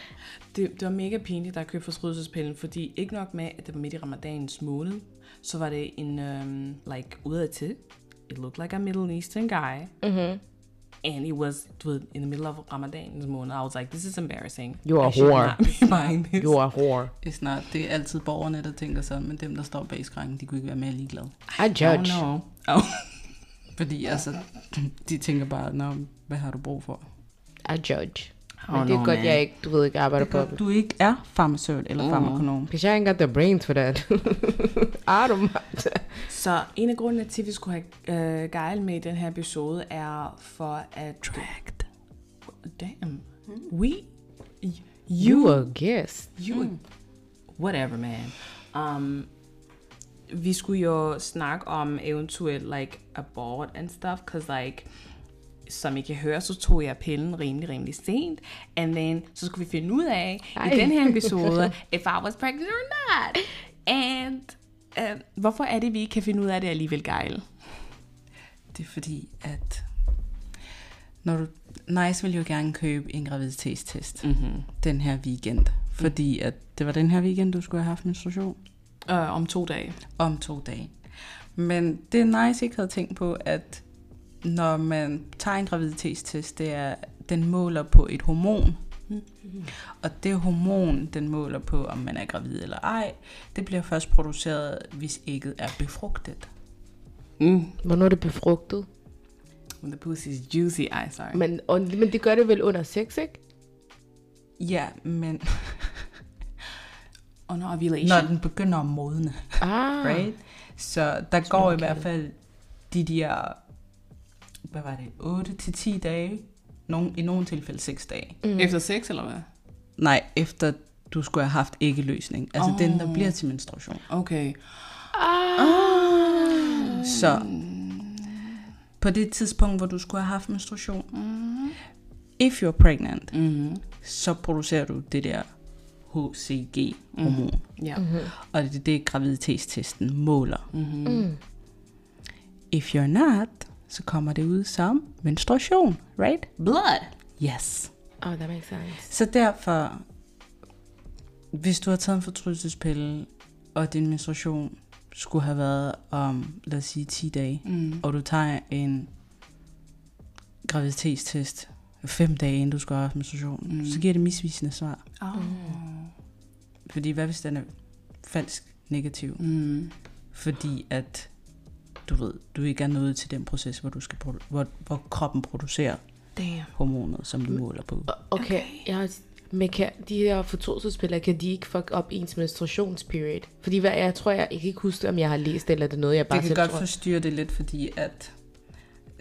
[SPEAKER 2] Det, det var mega pinligt, da jeg købte fortrydelsespillen, fordi ikke nok med, at det var midt i ramadanens måned, så var det en, um, like, udad til. It looked like a Middle Eastern guy. Mm-hmm. And it was, du ved, in the middle of ramadanens måned. I was like, this is embarrassing.
[SPEAKER 3] You are
[SPEAKER 2] I should
[SPEAKER 3] whore.
[SPEAKER 2] not be buying this.
[SPEAKER 3] You are whore.
[SPEAKER 4] It's not. Det er altid borgerne, der tænker sådan, men dem, der står bag skranken, de kunne ikke være mere ligeglade.
[SPEAKER 3] I
[SPEAKER 2] Oh
[SPEAKER 3] judge.
[SPEAKER 2] no. Oh.
[SPEAKER 4] Fordi altså, de tænker bare, Nå, hvad har du brug for?
[SPEAKER 3] I judge.
[SPEAKER 2] Oh,
[SPEAKER 3] Men det er
[SPEAKER 2] no,
[SPEAKER 3] godt,
[SPEAKER 2] man.
[SPEAKER 3] jeg ikke, du ved ikke, arbejder på det.
[SPEAKER 4] Du ikke er farmaceut eller
[SPEAKER 2] Oh.
[SPEAKER 4] farmakonom.
[SPEAKER 3] Because I ain't got the brains for that. I don't mind.
[SPEAKER 2] Så en af grundene til, at vi skulle have uh, Geil med i den her episode, er for at... Tracked. Damn. We...
[SPEAKER 3] You a guest.
[SPEAKER 2] You mm. whatever man. Um vi skulle jo snakke om eventuelt like abort and stuff, cause like som I kan høre, så tog jeg pillen rimelig, rimelig sent. And then, så skulle vi finde ud af Ej.
[SPEAKER 3] Ej.
[SPEAKER 2] i den her episode, if I was pregnant or not. And uh, hvorfor er det, vi ikke kan finde ud af det alligevel, Geil?
[SPEAKER 4] Det er fordi, at når du, Nice ville jo gerne købe en graviditetstest
[SPEAKER 3] Mhm.
[SPEAKER 4] mm-hmm. den her weekend. Fordi at det var den her weekend, du skulle have haft menstruation.
[SPEAKER 2] Uh, om to dage.
[SPEAKER 4] om to dage. Men det Nice ikke havde tænkt på, at når man tager en graviditetstest, det er, den måler på et hormon, mm. Og det hormon, den måler på, om man er gravid eller ej, det bliver først produceret, hvis ægget er befrugtet.
[SPEAKER 2] Mm.
[SPEAKER 3] Hvornår er det befrugtet?
[SPEAKER 2] When the pussy is juicy. Ej, sorry.
[SPEAKER 3] Men, og, men det gør det vel under sex, ikke?
[SPEAKER 4] Ja, men
[SPEAKER 2] Under ovulation.
[SPEAKER 4] når den begynder at modne,
[SPEAKER 3] Ah,
[SPEAKER 4] right? Så der går i hvert fald de der, hvad var det, 8-10 dage, nogen, i nogle tilfælde 6 dage.
[SPEAKER 2] Mm. Efter sex, eller hvad?
[SPEAKER 4] Nej, efter du skulle have haft æggeløsning. Altså oh. den, der bliver til menstruation.
[SPEAKER 2] Okay.
[SPEAKER 4] Så på det tidspunkt, hvor du skulle have haft menstruation, mm. if you're pregnant,
[SPEAKER 2] Mm-hmm.
[SPEAKER 4] så producerer du det der HCG-hormon. Mm.
[SPEAKER 2] Ja. Mm-hmm.
[SPEAKER 4] Og det er det, graviditetstesten måler.
[SPEAKER 2] Mm-hmm.
[SPEAKER 3] Mm.
[SPEAKER 4] If you're not, så kommer det ud som menstruation, right?
[SPEAKER 2] Blood.
[SPEAKER 4] Yes.
[SPEAKER 3] Oh, that makes sense.
[SPEAKER 4] Så derfor, hvis du har taget en fortrydelsespille, og din menstruation skulle have været om, lad os sige, 10 dage,
[SPEAKER 2] Mm.
[SPEAKER 4] og du tager en graviditetstest 5 dage, inden du skal have haft menstruationen,
[SPEAKER 2] Mm.
[SPEAKER 4] mm. så giver det misvisende svar.
[SPEAKER 2] Oh.
[SPEAKER 4] Fordi hvad hvis den er falsk negativ?
[SPEAKER 2] Mm.
[SPEAKER 4] Fordi at du ved, du ikke er nået til den proces, hvor, du skal produ- hvor, hvor kroppen producerer
[SPEAKER 2] Damn.
[SPEAKER 4] hormonet, som du måler på.
[SPEAKER 3] Okay, okay. jeg har... Men kan de her fortrydelsespillere, kan de ikke fuck op ens menstruationsperiod? Fordi hvad, jeg tror, jeg, jeg kan ikke huske, om jeg har læst det, eller det er noget, jeg bare
[SPEAKER 4] Det kan
[SPEAKER 3] selv
[SPEAKER 4] godt
[SPEAKER 3] tror.
[SPEAKER 4] forstyrre det lidt, fordi at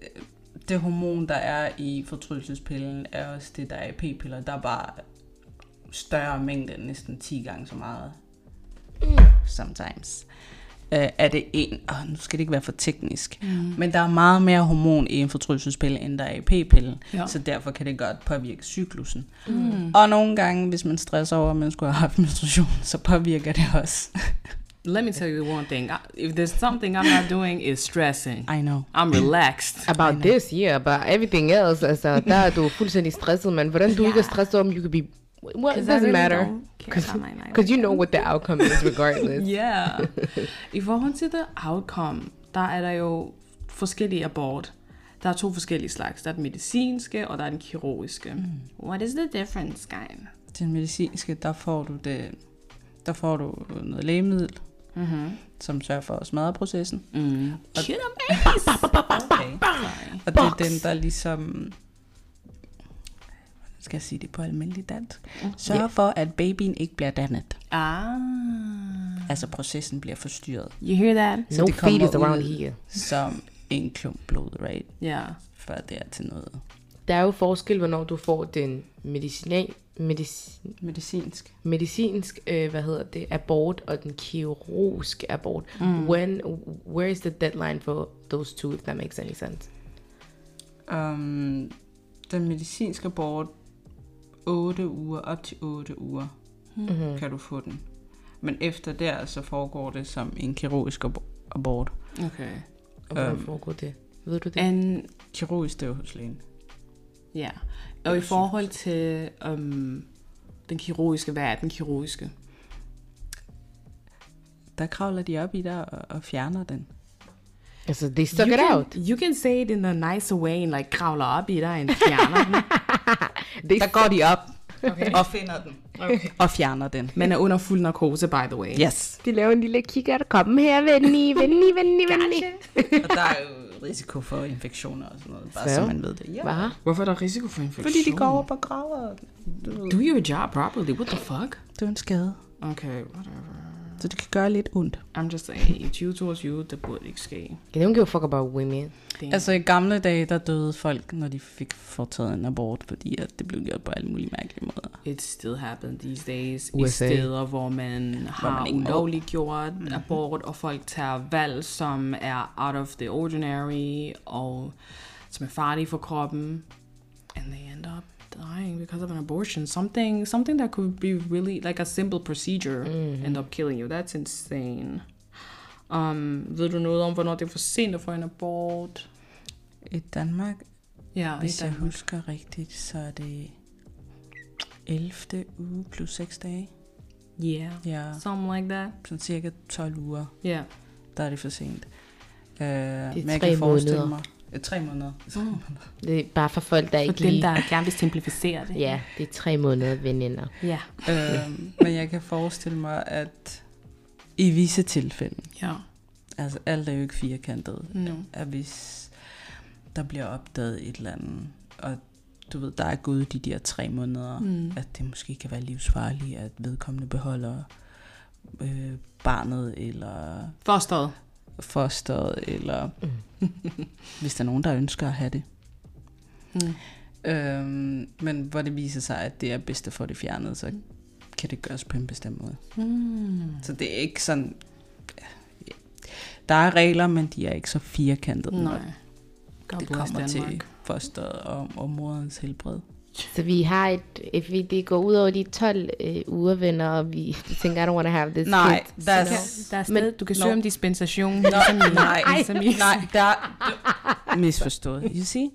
[SPEAKER 4] øh, det hormon, der er i fortrydelsespillen, er også det, der er i p-piller. Der er bare større mængde, næsten 10 gange så meget. Sometimes. Øh, er det en... Åh, nu skal det ikke være for teknisk. Mm. Men der er meget mere hormon i en fortrydelsespille, end der er i p-pillen.
[SPEAKER 2] Ja.
[SPEAKER 4] Ja. Så derfor kan det godt påvirke cyklusen. Mm. Og nogle gange, hvis man stresser over, at man skulle have haft menstruation, så påvirker det også.
[SPEAKER 2] Let me tell you one thing. I, if there's something I'm not doing, is stressing.
[SPEAKER 4] I know.
[SPEAKER 2] I'm relaxed.
[SPEAKER 3] About this, yeah, about everything else. Altså, der er du fuldstændig stresset, men hvordan du ikke er stresset om, you could be... Well, it
[SPEAKER 2] I
[SPEAKER 3] doesn't
[SPEAKER 2] really
[SPEAKER 3] matter.
[SPEAKER 2] don't care
[SPEAKER 3] Because
[SPEAKER 2] about my life.
[SPEAKER 3] you know what the outcome is regardless.
[SPEAKER 2] Yeah. I forhold til the outcome, der er der jo forskellige abort. Der er to forskellige slags. Der er den medicinske, og der er den kirurgiske. Mm. What is the difference, guy?
[SPEAKER 4] den medicinske, der får du det, der får du noget lægemiddel,
[SPEAKER 2] Mm-hmm.
[SPEAKER 4] som sørger for at smadre processen.
[SPEAKER 2] Mm. Shit, man.
[SPEAKER 4] Okay. Og det er den, der ligesom, hvordan skal jeg sige det på almindelig dansk, sørger for, at babyen ikke bliver dannet.
[SPEAKER 2] Ah.
[SPEAKER 4] Altså processen bliver forstyrret.
[SPEAKER 2] You hear that?
[SPEAKER 3] No
[SPEAKER 4] det kommer
[SPEAKER 3] fetus around
[SPEAKER 4] ud.
[SPEAKER 3] here.
[SPEAKER 4] Som en klump blod, right?
[SPEAKER 2] Yeah.
[SPEAKER 4] Før det er til noget
[SPEAKER 3] Der er jo forskel, hvornår du får den medicinal, medicin,
[SPEAKER 4] medicinsk.
[SPEAKER 3] medicinsk, øh, hvad hedder det, abort og den kirurgiske abort. Mm. When, where is the deadline for those two, if that makes any sense?
[SPEAKER 4] Um, den medicinske abort 8 uger, op til 8 uger, mm-hmm. kan du få den. Men efter der, så foregår det som en kirurgisk abo- abort.
[SPEAKER 2] Okay.
[SPEAKER 3] Og hvordan
[SPEAKER 2] Øhm.
[SPEAKER 3] foregår det? Ved du det?
[SPEAKER 2] And
[SPEAKER 4] Kirurgisk, det er jo hos lægen.
[SPEAKER 2] Ja, og i forhold til øhm, den kirurgiske, hvad er den kirurgiske?
[SPEAKER 4] Der kravler de op i dig og, og fjerner den.
[SPEAKER 3] altså, they stuck it
[SPEAKER 2] can,
[SPEAKER 3] out.
[SPEAKER 2] You can say it in a nicer way, end like kravler op i dig, end fjerner den.
[SPEAKER 3] They
[SPEAKER 4] Der går de op okay. og finder den. Okay. Og fjerner den.
[SPEAKER 2] Man er under fuld narkose, by the way.
[SPEAKER 4] Yes.
[SPEAKER 3] De laver en lille kigger. Kom her, venlig, venlig, venlig, venlig.
[SPEAKER 4] Og der er jo risiko for infektioner og sådan noget, bare
[SPEAKER 3] Så.
[SPEAKER 4] så, man ved det. Ja.
[SPEAKER 3] Hvad?
[SPEAKER 2] Hvorfor er der risiko for infektion?
[SPEAKER 4] Fordi de går op og graver. Du, ved,
[SPEAKER 2] Do your job properly, what the fuck?
[SPEAKER 4] det er en skade,
[SPEAKER 2] Okay, whatever.
[SPEAKER 4] så det kan gøre lidt ondt.
[SPEAKER 2] I'm just saying, i 2022, det burde ikke ske.
[SPEAKER 3] They don't give a fuck about women.
[SPEAKER 2] Damn.
[SPEAKER 4] Altså i gamle dage, der døde folk, når de fik foretaget en abort, fordi at det blev gjort på alle mulige mærkelige måder.
[SPEAKER 2] It still happens these days USA. i
[SPEAKER 3] USA.
[SPEAKER 2] steder, hvor man har
[SPEAKER 4] ikke må.
[SPEAKER 2] ulovliggjort mm-hmm. abort, og folk tager valg, som er out of the ordinary, og som er farlige for kroppen. And they end up dying because of an abortion. Something, something that could be really, like a simple procedure, mm-hmm. end up killing you. That's insane. Um, ved du noget om, hvornår det er for sent at få en abort?
[SPEAKER 4] I Danmark,
[SPEAKER 2] Ja,
[SPEAKER 4] hvis
[SPEAKER 2] i
[SPEAKER 4] jeg
[SPEAKER 2] Danmark.
[SPEAKER 4] husker rigtigt, så er det 11. uge plus 6 dage.
[SPEAKER 2] Yeah.
[SPEAKER 4] Ja,
[SPEAKER 2] Something like that.
[SPEAKER 4] sådan cirka 12 uger,
[SPEAKER 2] Yeah.
[SPEAKER 4] der er det for sent. Øh, det
[SPEAKER 3] tre måneder.
[SPEAKER 4] mig, Øh, Tre måneder. Tre måneder.
[SPEAKER 3] Det er bare for folk, der
[SPEAKER 2] For
[SPEAKER 3] ikke
[SPEAKER 2] dem,
[SPEAKER 3] lige...
[SPEAKER 2] der gerne vil simplificere det.
[SPEAKER 3] Ja, det er tre måneder, veninder.
[SPEAKER 2] Ja.
[SPEAKER 4] øhm, men jeg kan forestille mig, at i visse tilfælde,
[SPEAKER 2] ja. Mm.
[SPEAKER 4] altså alt er jo ikke firkantet,
[SPEAKER 2] No.
[SPEAKER 4] at hvis der bliver opdaget et eller andet, og du ved, der er gået de der tre måneder,
[SPEAKER 2] Mm.
[SPEAKER 4] at det måske kan være livsfarligt, at vedkommende beholder øh, barnet, eller
[SPEAKER 2] Forstået.
[SPEAKER 4] fosteret, eller hvis der er nogen, der ønsker at have det.
[SPEAKER 2] Mm.
[SPEAKER 4] Øhm, men hvor det viser sig, at det er bedst at få det fjernet, så kan det gøres på en bestemt måde.
[SPEAKER 2] Mm.
[SPEAKER 4] Så det er ikke sådan... ja. Der er regler, men de er ikke så firkantede.
[SPEAKER 2] Mm. Nej.
[SPEAKER 4] når
[SPEAKER 2] Godt
[SPEAKER 4] Det
[SPEAKER 2] bud,
[SPEAKER 4] kommer
[SPEAKER 2] Danmark.
[SPEAKER 4] til fosteret og, og morens helbred.
[SPEAKER 3] Så vi har et... If vi, det går ud over de 12 øh, uger, venner, og vi tænker, I don't want to have this
[SPEAKER 4] Nej,
[SPEAKER 3] kid.
[SPEAKER 4] der er,
[SPEAKER 2] Kan, der er sted,
[SPEAKER 3] Men-
[SPEAKER 2] du kan
[SPEAKER 4] Nå.
[SPEAKER 2] søge om dispensation.
[SPEAKER 4] Nå, nej,
[SPEAKER 2] ligesom I-
[SPEAKER 4] nej, der er misforstået, you see?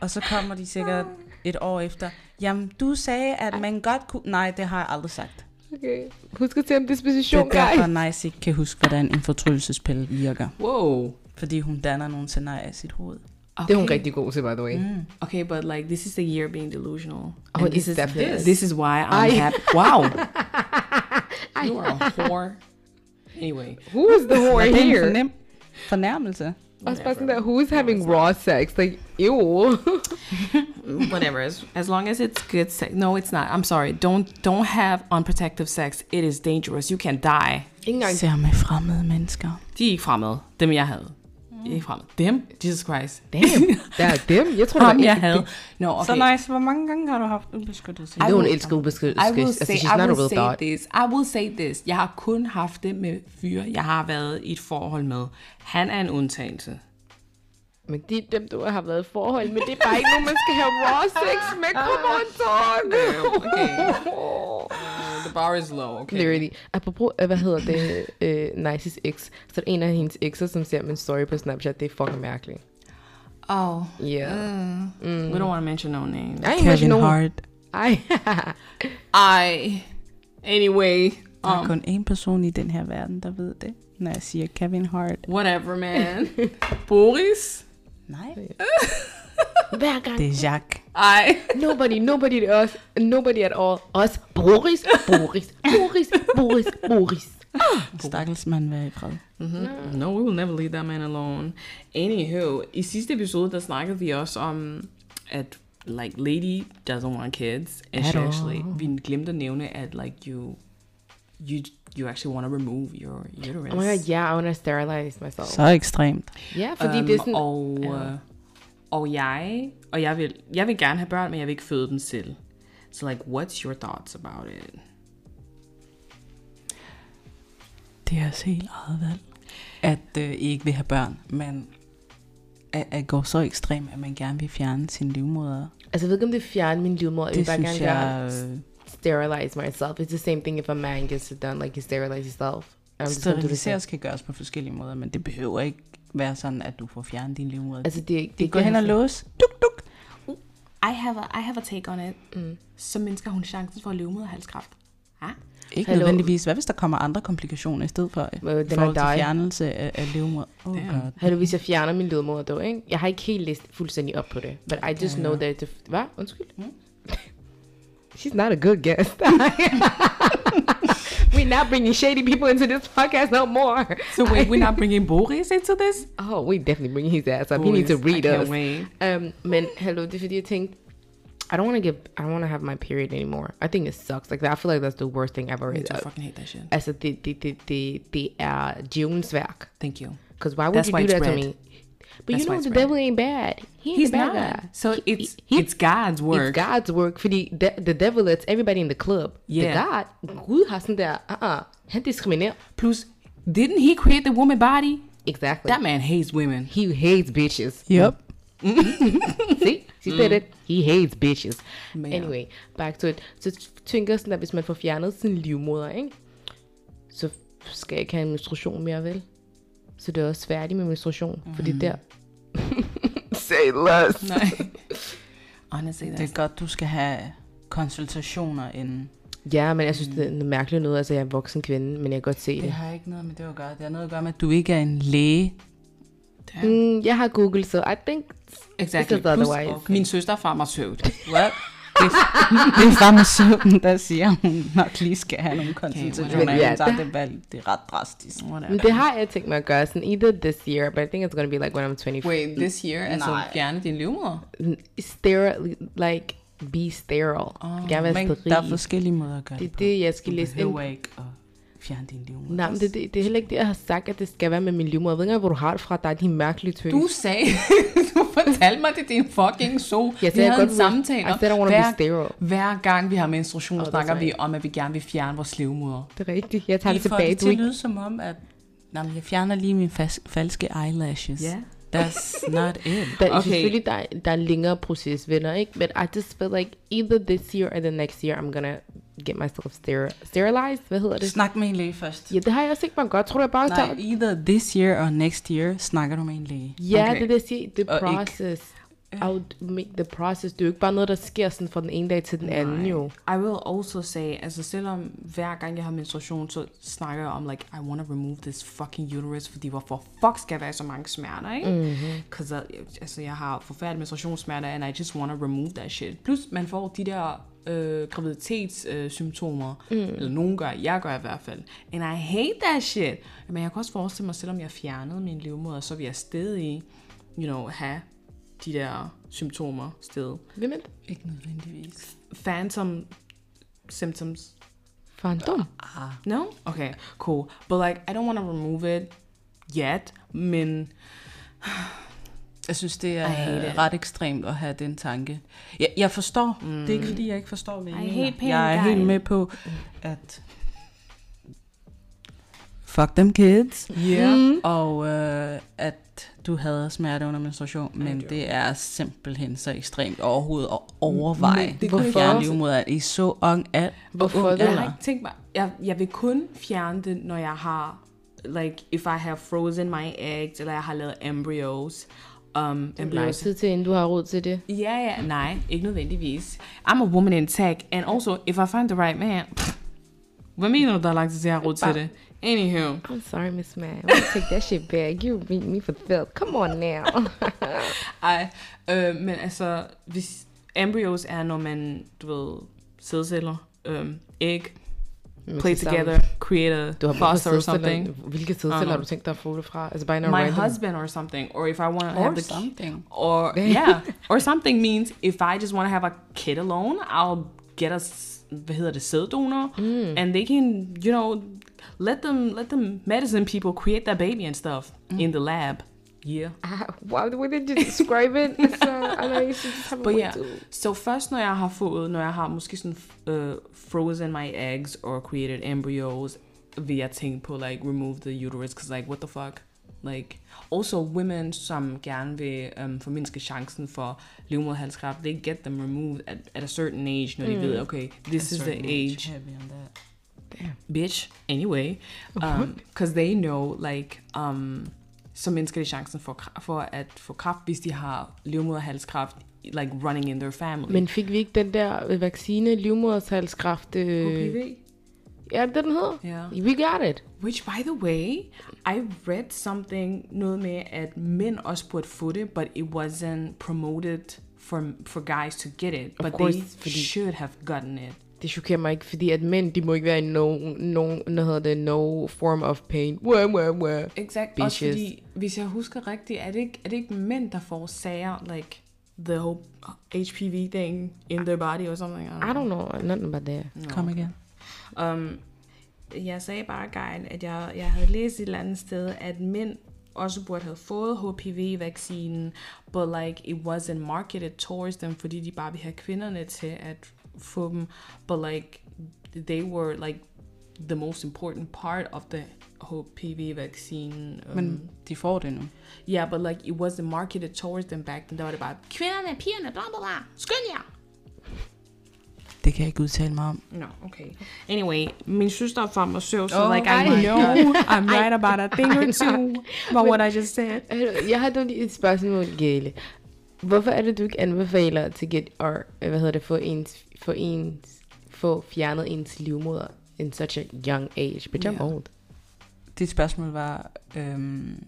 [SPEAKER 4] Og så kommer de sikkert et år efter. Jamen, du sagde, at man godt kunne... Nej, det har jeg aldrig sagt.
[SPEAKER 3] Okay. Husk at tage en
[SPEAKER 4] Det
[SPEAKER 3] disposition,
[SPEAKER 4] er derfor,
[SPEAKER 3] guys.
[SPEAKER 4] Nice ikke kan huske, hvordan en fortryllelsespille virker.
[SPEAKER 2] Wow.
[SPEAKER 4] Fordi hun danner nogle scenarier i sit hoved.
[SPEAKER 2] Okay.
[SPEAKER 3] Det er hun rigtig god til, by the way.
[SPEAKER 4] Mm.
[SPEAKER 2] Okay, but like this is the year being delusional.
[SPEAKER 3] Oh,
[SPEAKER 2] And this
[SPEAKER 3] it's
[SPEAKER 2] is
[SPEAKER 3] definitely is.
[SPEAKER 2] this. is why I'm
[SPEAKER 3] I-
[SPEAKER 2] happy. Wow. you are a whore. Anyway.
[SPEAKER 3] Who is the
[SPEAKER 4] Var
[SPEAKER 3] whore
[SPEAKER 4] det en
[SPEAKER 3] here?
[SPEAKER 4] fornem fornærmelse?
[SPEAKER 3] Også bare sådan der, who's having raw sex? Like, ew.
[SPEAKER 2] Whatever. As, as long as it's good sex. No, it's not. I'm sorry. Don't don't have unprotective sex. It is dangerous. You can die.
[SPEAKER 3] Ikke engang
[SPEAKER 4] Ser med fremmede mennesker.
[SPEAKER 2] De er ikke fremmede. Dem jeg havde. De er ikke fremmede. Dem? Jesus Christ.
[SPEAKER 3] Damn, der er dem. Jeg tror, der var
[SPEAKER 2] Ham
[SPEAKER 3] en.
[SPEAKER 2] jeg havde. No, okay.
[SPEAKER 4] nice, hvor mange gange har du haft ubeskyttet sex?
[SPEAKER 2] I
[SPEAKER 3] Det, hun
[SPEAKER 2] will-
[SPEAKER 3] elsker ubeskyttet
[SPEAKER 2] I
[SPEAKER 3] sex.
[SPEAKER 2] will
[SPEAKER 3] Altså,
[SPEAKER 2] say,
[SPEAKER 3] she's
[SPEAKER 2] I
[SPEAKER 3] not a
[SPEAKER 2] will
[SPEAKER 3] real
[SPEAKER 2] say
[SPEAKER 3] dog.
[SPEAKER 2] this. I will say this. Jeg har kun haft det med fyre, jeg har været i et forhold med. Han er en undtagelse.
[SPEAKER 3] Men det er dem, du har været i forhold med. Det er bare ikke nogen, man skal have raw sex med. Come on, dog.
[SPEAKER 2] Uh, The bar is low, okay?
[SPEAKER 3] Literally. Apropos, øh, hvad hedder det, øh, Nices ex, så er der en af hendes ekser, som ser min story på Snapchat. Det er fucking mærkeligt.
[SPEAKER 2] Oh.
[SPEAKER 3] Yeah.
[SPEAKER 2] We don't want to mention no names.
[SPEAKER 3] Ej,
[SPEAKER 4] Øh, Kevin
[SPEAKER 3] Kevin Hart.
[SPEAKER 4] Hart.
[SPEAKER 3] Ej.
[SPEAKER 2] I. Anyway.
[SPEAKER 4] Der er kun én person i den her verden, der ved det. Når jeg siger Kevin Hart.
[SPEAKER 2] Whatever, man. Boris.
[SPEAKER 4] Nej.
[SPEAKER 3] Hver gang.
[SPEAKER 4] Det er Jacques.
[SPEAKER 2] I.
[SPEAKER 3] Nobody, nobody at us. Nobody at all. Os. Boris, Boris, Boris, Boris, Boris.
[SPEAKER 4] Stakkels mand være i fred.
[SPEAKER 2] Mm-hmm. No, we will never leave that man alone. Anywho, i sidste episode, der snakkede vi også om, at like lady doesn't want kids, and
[SPEAKER 3] At
[SPEAKER 2] she
[SPEAKER 3] all.
[SPEAKER 2] actually, vi glemte at nævne, at like you, you, you actually want to remove your uterus.
[SPEAKER 3] Oh my god, yeah, I want to sterilize myself.
[SPEAKER 4] Så Um, ekstremt.
[SPEAKER 3] Ja, fordi det er sådan...
[SPEAKER 2] Um,
[SPEAKER 3] Ja.
[SPEAKER 2] og, øh, og jeg, og jeg vil, jeg vil gerne have børn, men jeg vil ikke føde dem selv. So like, what's your thoughts about it?
[SPEAKER 4] Det er også helt eget valg. At øh, I ikke vil have børn, men at, at gå så ekstremt, at man gerne vil fjerne sin livmoder.
[SPEAKER 3] Altså, jeg ved ikke, om det fjerner min livmor. Jeg vil
[SPEAKER 4] Det
[SPEAKER 3] bare
[SPEAKER 4] synes
[SPEAKER 3] gerne gøre,
[SPEAKER 4] jeg øh,
[SPEAKER 3] sterilize myself. It's the same thing if a man gets it done, like you sterilize yourself. I'm just gonna do the same.
[SPEAKER 4] Steriliseres kan gøres på forskellige måder, men det behøver ikke være sådan, at du får fjernet din livmoder.
[SPEAKER 3] Altså, det er ikke...
[SPEAKER 4] det går hen og låse. Duk, duk.
[SPEAKER 2] I have a, I have a take on it. Mm. Så mindsker hun chancen for at leve med halskræft. Ah?
[SPEAKER 4] Ikke
[SPEAKER 3] Hallo.
[SPEAKER 4] nødvendigvis. Hvad hvis der kommer andre komplikationer i stedet for,
[SPEAKER 3] Well,
[SPEAKER 4] i
[SPEAKER 3] then I
[SPEAKER 4] forhold til
[SPEAKER 3] die.
[SPEAKER 4] fjernelse af, af livmoder? Oh, God.
[SPEAKER 3] Hallo, hvis jeg fjerner min livmoder, dog, ikke? Jeg har ikke helt læst fuldstændig op på det. But I just know that... it's a- Hvad? Undskyld?
[SPEAKER 2] Hmm?
[SPEAKER 3] She's not a good guest. We're not bringing shady people into this podcast no more.
[SPEAKER 2] So wait, we're not bringing Boris into this?
[SPEAKER 3] Oh, we definitely bringing his ass up. he needs to
[SPEAKER 2] Boris, I
[SPEAKER 3] read
[SPEAKER 2] can't
[SPEAKER 3] us.
[SPEAKER 2] wait.
[SPEAKER 3] Um, men hello, det er fordi jeg tænkte, I don't want to give, I don't want to have my period anymore. I think it sucks. Like I feel like that's the worst thing ever.
[SPEAKER 2] I
[SPEAKER 3] Uh,
[SPEAKER 2] fucking hate that shit.
[SPEAKER 3] Altså, det, det, det, det, det er djævelens værk.
[SPEAKER 2] Thank you.
[SPEAKER 3] Because why would
[SPEAKER 2] That's
[SPEAKER 3] you do
[SPEAKER 2] why it's
[SPEAKER 3] that to
[SPEAKER 2] red.
[SPEAKER 3] me? But
[SPEAKER 2] That's
[SPEAKER 3] you
[SPEAKER 2] why
[SPEAKER 3] know,
[SPEAKER 2] it's
[SPEAKER 3] the
[SPEAKER 2] red.
[SPEAKER 3] devil ain't bad. He ain't
[SPEAKER 2] He's
[SPEAKER 3] the bad
[SPEAKER 2] not.
[SPEAKER 3] guy.
[SPEAKER 2] So
[SPEAKER 3] He-
[SPEAKER 2] it's
[SPEAKER 3] he-
[SPEAKER 2] it's God's
[SPEAKER 3] It's
[SPEAKER 2] work.
[SPEAKER 3] God's work. Fordi the, the devil, it's everybody in the club.
[SPEAKER 2] Yeah.
[SPEAKER 3] The God, Gud har sådan der, uh-uh, han diskriminerer.
[SPEAKER 2] Plus, didn't he create the woman body?
[SPEAKER 3] Exactly.
[SPEAKER 2] That man hates women.
[SPEAKER 3] He hates bitches.
[SPEAKER 4] Yep.
[SPEAKER 3] See, she said
[SPEAKER 2] Mm.
[SPEAKER 3] it. He hates bitches.
[SPEAKER 2] Men-
[SPEAKER 3] Anyway, back to it. Så tænker jeg sådan, at hvis man får fjernet sin livmoder, ikke? så skal jeg ikke have en menstruation mere, vel? Så det er også færdigt med menstruation, mm.
[SPEAKER 2] Mm-hmm.
[SPEAKER 3] fordi der... Say less.
[SPEAKER 2] Nej. Honestly,
[SPEAKER 4] Det
[SPEAKER 2] that's
[SPEAKER 3] altså.
[SPEAKER 4] er godt, du skal have konsultationer inden.
[SPEAKER 3] Ja, men jeg synes, det er noget mærkeligt noget. Altså, jeg er en voksen kvinde, men jeg kan godt se
[SPEAKER 4] Mm. Det
[SPEAKER 3] det.
[SPEAKER 4] har ikke noget med det at gøre. Det har noget at gøre med, at du ikke er en læge,
[SPEAKER 2] Damn.
[SPEAKER 3] Mm, jeg har Google, så I think
[SPEAKER 2] Exactly.
[SPEAKER 3] It's otherwise.
[SPEAKER 2] okay. min søster er farmaceut. What? This,
[SPEAKER 4] Det er farmaceuten, der siger, at hun nok lige skal have nogle
[SPEAKER 3] Men
[SPEAKER 4] konsultationer.
[SPEAKER 3] ja,
[SPEAKER 4] Okay, hun tager
[SPEAKER 3] det-
[SPEAKER 4] det valg. Det er ret drastisk.
[SPEAKER 3] Men det har jeg tænkt mig at gøre, sådan either this year, but I think it's gonna be like when I'm 24.
[SPEAKER 2] Wait, this year? Altså,
[SPEAKER 4] Nej.
[SPEAKER 2] fjerne din livmoder?
[SPEAKER 3] Sterile, like, be sterile. Oh, jeg vil være
[SPEAKER 4] Men der er
[SPEAKER 3] steril.
[SPEAKER 4] forskellige måder at gøre
[SPEAKER 3] Det
[SPEAKER 4] det
[SPEAKER 3] er
[SPEAKER 4] på.
[SPEAKER 3] det, jeg skal læse ind.
[SPEAKER 4] behøver ikke at fjerne din liv.
[SPEAKER 3] Nej, men det, det, det er heller ikke det, jeg har sagt, at det skal være med min livmor. Jeg ved ikke engang, hvor du har det fra. Der er de mærkelige tøs.
[SPEAKER 2] Du sagde, du fortalte mig, det er din fucking so.
[SPEAKER 3] Jeg
[SPEAKER 2] vi
[SPEAKER 3] sagde,
[SPEAKER 2] havde
[SPEAKER 3] jeg
[SPEAKER 2] en
[SPEAKER 3] godt vil-
[SPEAKER 2] samtale
[SPEAKER 3] I
[SPEAKER 2] om,
[SPEAKER 3] said I wanna be sterile.
[SPEAKER 2] hver gang vi har menstruation,
[SPEAKER 3] Oh,
[SPEAKER 2] oh,
[SPEAKER 3] that's
[SPEAKER 2] snakker vi
[SPEAKER 3] right.
[SPEAKER 2] om, at vi gerne vil fjerne vores livmoder.
[SPEAKER 3] Det er rigtigt. Jeg tager
[SPEAKER 4] I
[SPEAKER 3] det
[SPEAKER 4] får
[SPEAKER 3] tilbage. Du
[SPEAKER 4] det til
[SPEAKER 3] er
[SPEAKER 4] at
[SPEAKER 3] ikke...
[SPEAKER 4] lyde som om, at Nå, men jeg fjerner lige mine fas- falske eyelashes.
[SPEAKER 2] Ja.
[SPEAKER 4] That's not it.
[SPEAKER 3] Der, okay.
[SPEAKER 2] Okay.
[SPEAKER 3] Selvfølgelig, der, er- der er en længere proces, venner, ikke? But I just feel like either this year or the next year, I'm gonna get myself steri- sterilized. Hvad hedder det?
[SPEAKER 4] Snak med en læge først.
[SPEAKER 3] Ja, det har jeg også ikke, man godt tror, jeg bare
[SPEAKER 4] Nej, either this year or next year snakker du med en læge.
[SPEAKER 3] Ja,
[SPEAKER 2] Okay. Uh,
[SPEAKER 3] det der siger, the
[SPEAKER 4] Og ikke-
[SPEAKER 3] process. I would make the process. Det er jo ikke bare noget, der sker sådan fra den ene dag til den anden, jo.
[SPEAKER 2] I will also say, altså selvom hver gang jeg har menstruation, så snakker jeg om, like, I want to remove this fucking uterus, fordi hvorfor fuck skal jeg være i så mange smerter, ikke? Mm-hmm. Cause, uh, altså, jeg har forfærdelige menstruationssmerter, and I just want to remove that shit. Plus, man får de der øh, graviditetssymptomer, øh, symptomer. eller nogen gør, jeg gør i hvert fald. And I hate that shit. Men jeg kan også forestille mig, selvom jeg fjernede min livmoder, så vil jeg stadig, you know, have de der symptomer sted.
[SPEAKER 3] Hvem er det?
[SPEAKER 4] Ikke nødvendigvis.
[SPEAKER 2] Phantom symptoms.
[SPEAKER 3] Fandom.
[SPEAKER 2] No? Okay, cool. But like, I don't want to remove it yet, men
[SPEAKER 4] Jeg synes, det
[SPEAKER 2] I hate
[SPEAKER 4] er
[SPEAKER 2] it.
[SPEAKER 4] ret ekstremt at have den tanke. Jeg, jeg forstår. Mm. Det er ikke, fordi jeg ikke forstår, hvad I
[SPEAKER 2] I
[SPEAKER 4] mener.
[SPEAKER 2] hate pain,
[SPEAKER 4] Jeg er helt
[SPEAKER 2] guys.
[SPEAKER 4] med på, at... Fuck them kids.
[SPEAKER 2] yeah.
[SPEAKER 3] Mm,
[SPEAKER 4] Mm. Og øh, at du hader smerte under menstruation, men
[SPEAKER 2] do.
[SPEAKER 4] det er simpelthen så ekstremt overhovedet at overveje,
[SPEAKER 2] Men
[SPEAKER 4] men
[SPEAKER 2] det
[SPEAKER 4] Mm, det
[SPEAKER 2] kunne
[SPEAKER 4] hvorfor
[SPEAKER 2] jeg
[SPEAKER 4] jeg
[SPEAKER 2] også-
[SPEAKER 4] livmoder er i så ung at
[SPEAKER 3] Hvorfor
[SPEAKER 4] ung
[SPEAKER 3] det?
[SPEAKER 2] Jeg har
[SPEAKER 4] alder.
[SPEAKER 2] ikke tænkt mig, jeg, jeg vil kun fjerne det, når jeg har, like, if I have frozen my eggs, eller jeg har lavet embryos.
[SPEAKER 3] Det
[SPEAKER 2] Um,
[SPEAKER 3] er lang
[SPEAKER 2] embryos.
[SPEAKER 3] tid til, inden du har råd til det.
[SPEAKER 2] Ja, ja, nej, ikke nødvendigvis. I'm a woman in tech, and also, if I find the right man, pff, hvad mener du, der er lang tid til, jeg har råd til det? Anywho.
[SPEAKER 3] I'm sorry, Miss Man. I'm gonna take that shit back. You beat me for filth. Come on now.
[SPEAKER 2] Ej, øh, men altså, hvis embryos er, når man, du ved, sædceller, øh, æg, play together, create a
[SPEAKER 3] Du har brug
[SPEAKER 2] foster
[SPEAKER 3] for
[SPEAKER 2] or something.
[SPEAKER 3] sædceller. Hvilke sædceller har du tænkt dig at få det fra? Altså bare en
[SPEAKER 2] My
[SPEAKER 3] random.
[SPEAKER 2] husband or something, or if I want to have
[SPEAKER 4] Or
[SPEAKER 2] the
[SPEAKER 4] something.
[SPEAKER 2] or yeah, or something means if I just want to have a kid alone, I'll get a s- hvad hedder det, sæddonor,
[SPEAKER 3] Mm.
[SPEAKER 2] and they can, you know, let them let them medicine people create that baby and stuff
[SPEAKER 3] Mm.
[SPEAKER 2] in the lab. Yeah.
[SPEAKER 3] Ah, Wow, the way they just describe it. Altså, So, I know you should just have a
[SPEAKER 2] But
[SPEAKER 3] way
[SPEAKER 2] yeah,
[SPEAKER 3] to...
[SPEAKER 2] so først når jeg har fået, når jeg har måske sådan uh, frozen my eggs or created embryos, vil jeg tænke på like remove the uterus, cause like what the fuck? Like, also women, som gerne vil um, formindske chancen for livmoderhalskræft, they get them removed at, at a certain age, når mm. de ved, okay, this is the age, bitch, anyway. Um, cause they know, like, um, så mindsker de chancen for, kra- for at få kraft, hvis de har livmoderhalskræft, like running in their family.
[SPEAKER 3] Men fik vi ikke den der øh, vaccine, livmodershalskræft? Øh...
[SPEAKER 2] HPV?
[SPEAKER 3] Ja, det den hedder.
[SPEAKER 2] Ja.
[SPEAKER 3] We got it.
[SPEAKER 2] Which, by the way, I read something, noget med, at mænd også burde få det, but it wasn't promoted for, for guys to get it. But they
[SPEAKER 3] course, fordi-
[SPEAKER 2] should have gotten it.
[SPEAKER 3] Det chokerer mig ikke, fordi at mænd, de må ikke være i no, no, hvad hedder det, no form of pain. Wah, wah, wah.
[SPEAKER 2] Exakt.
[SPEAKER 3] Bitches.
[SPEAKER 2] Også fordi, hvis jeg husker rigtigt, er det ikke, er det ikke mænd, der får sager, like the whole HPV thing in their body or something?
[SPEAKER 3] I don't know, nothing about that.
[SPEAKER 4] Kom igen.
[SPEAKER 2] Um, jeg sagde bare, Geil, at jeg, jeg havde læst et eller andet sted, at mænd også burde have fået HPV-vaccinen, but like it wasn't marketed towards them, fordi de bare ville have kvinderne til at få dem, but like they were like the most important part of the HPV vaccine. Um,
[SPEAKER 4] Men de får det nu.
[SPEAKER 2] yeah, but like it wasn't marketed towards them back then. Der var det bare, kvinderne, pigerne, bla bla bla, skynd jer!
[SPEAKER 4] Det kan jeg ikke udtale mig om.
[SPEAKER 2] No, okay. Anyway, min søster er farmaceut, so
[SPEAKER 4] Oh
[SPEAKER 2] like I
[SPEAKER 4] my
[SPEAKER 2] know I'm right about a thing or two about what I just said.
[SPEAKER 3] Altså, Jeg har dog lige et spørgsmål, Gale. Hvorfor er det, du ikke anbefaler til get, or, hvad hedder det, få ens, få ens, få fjernet ens livmoder in such a young age, but you're
[SPEAKER 4] Ja.
[SPEAKER 3] old.
[SPEAKER 4] Dit spørgsmål var, øhm,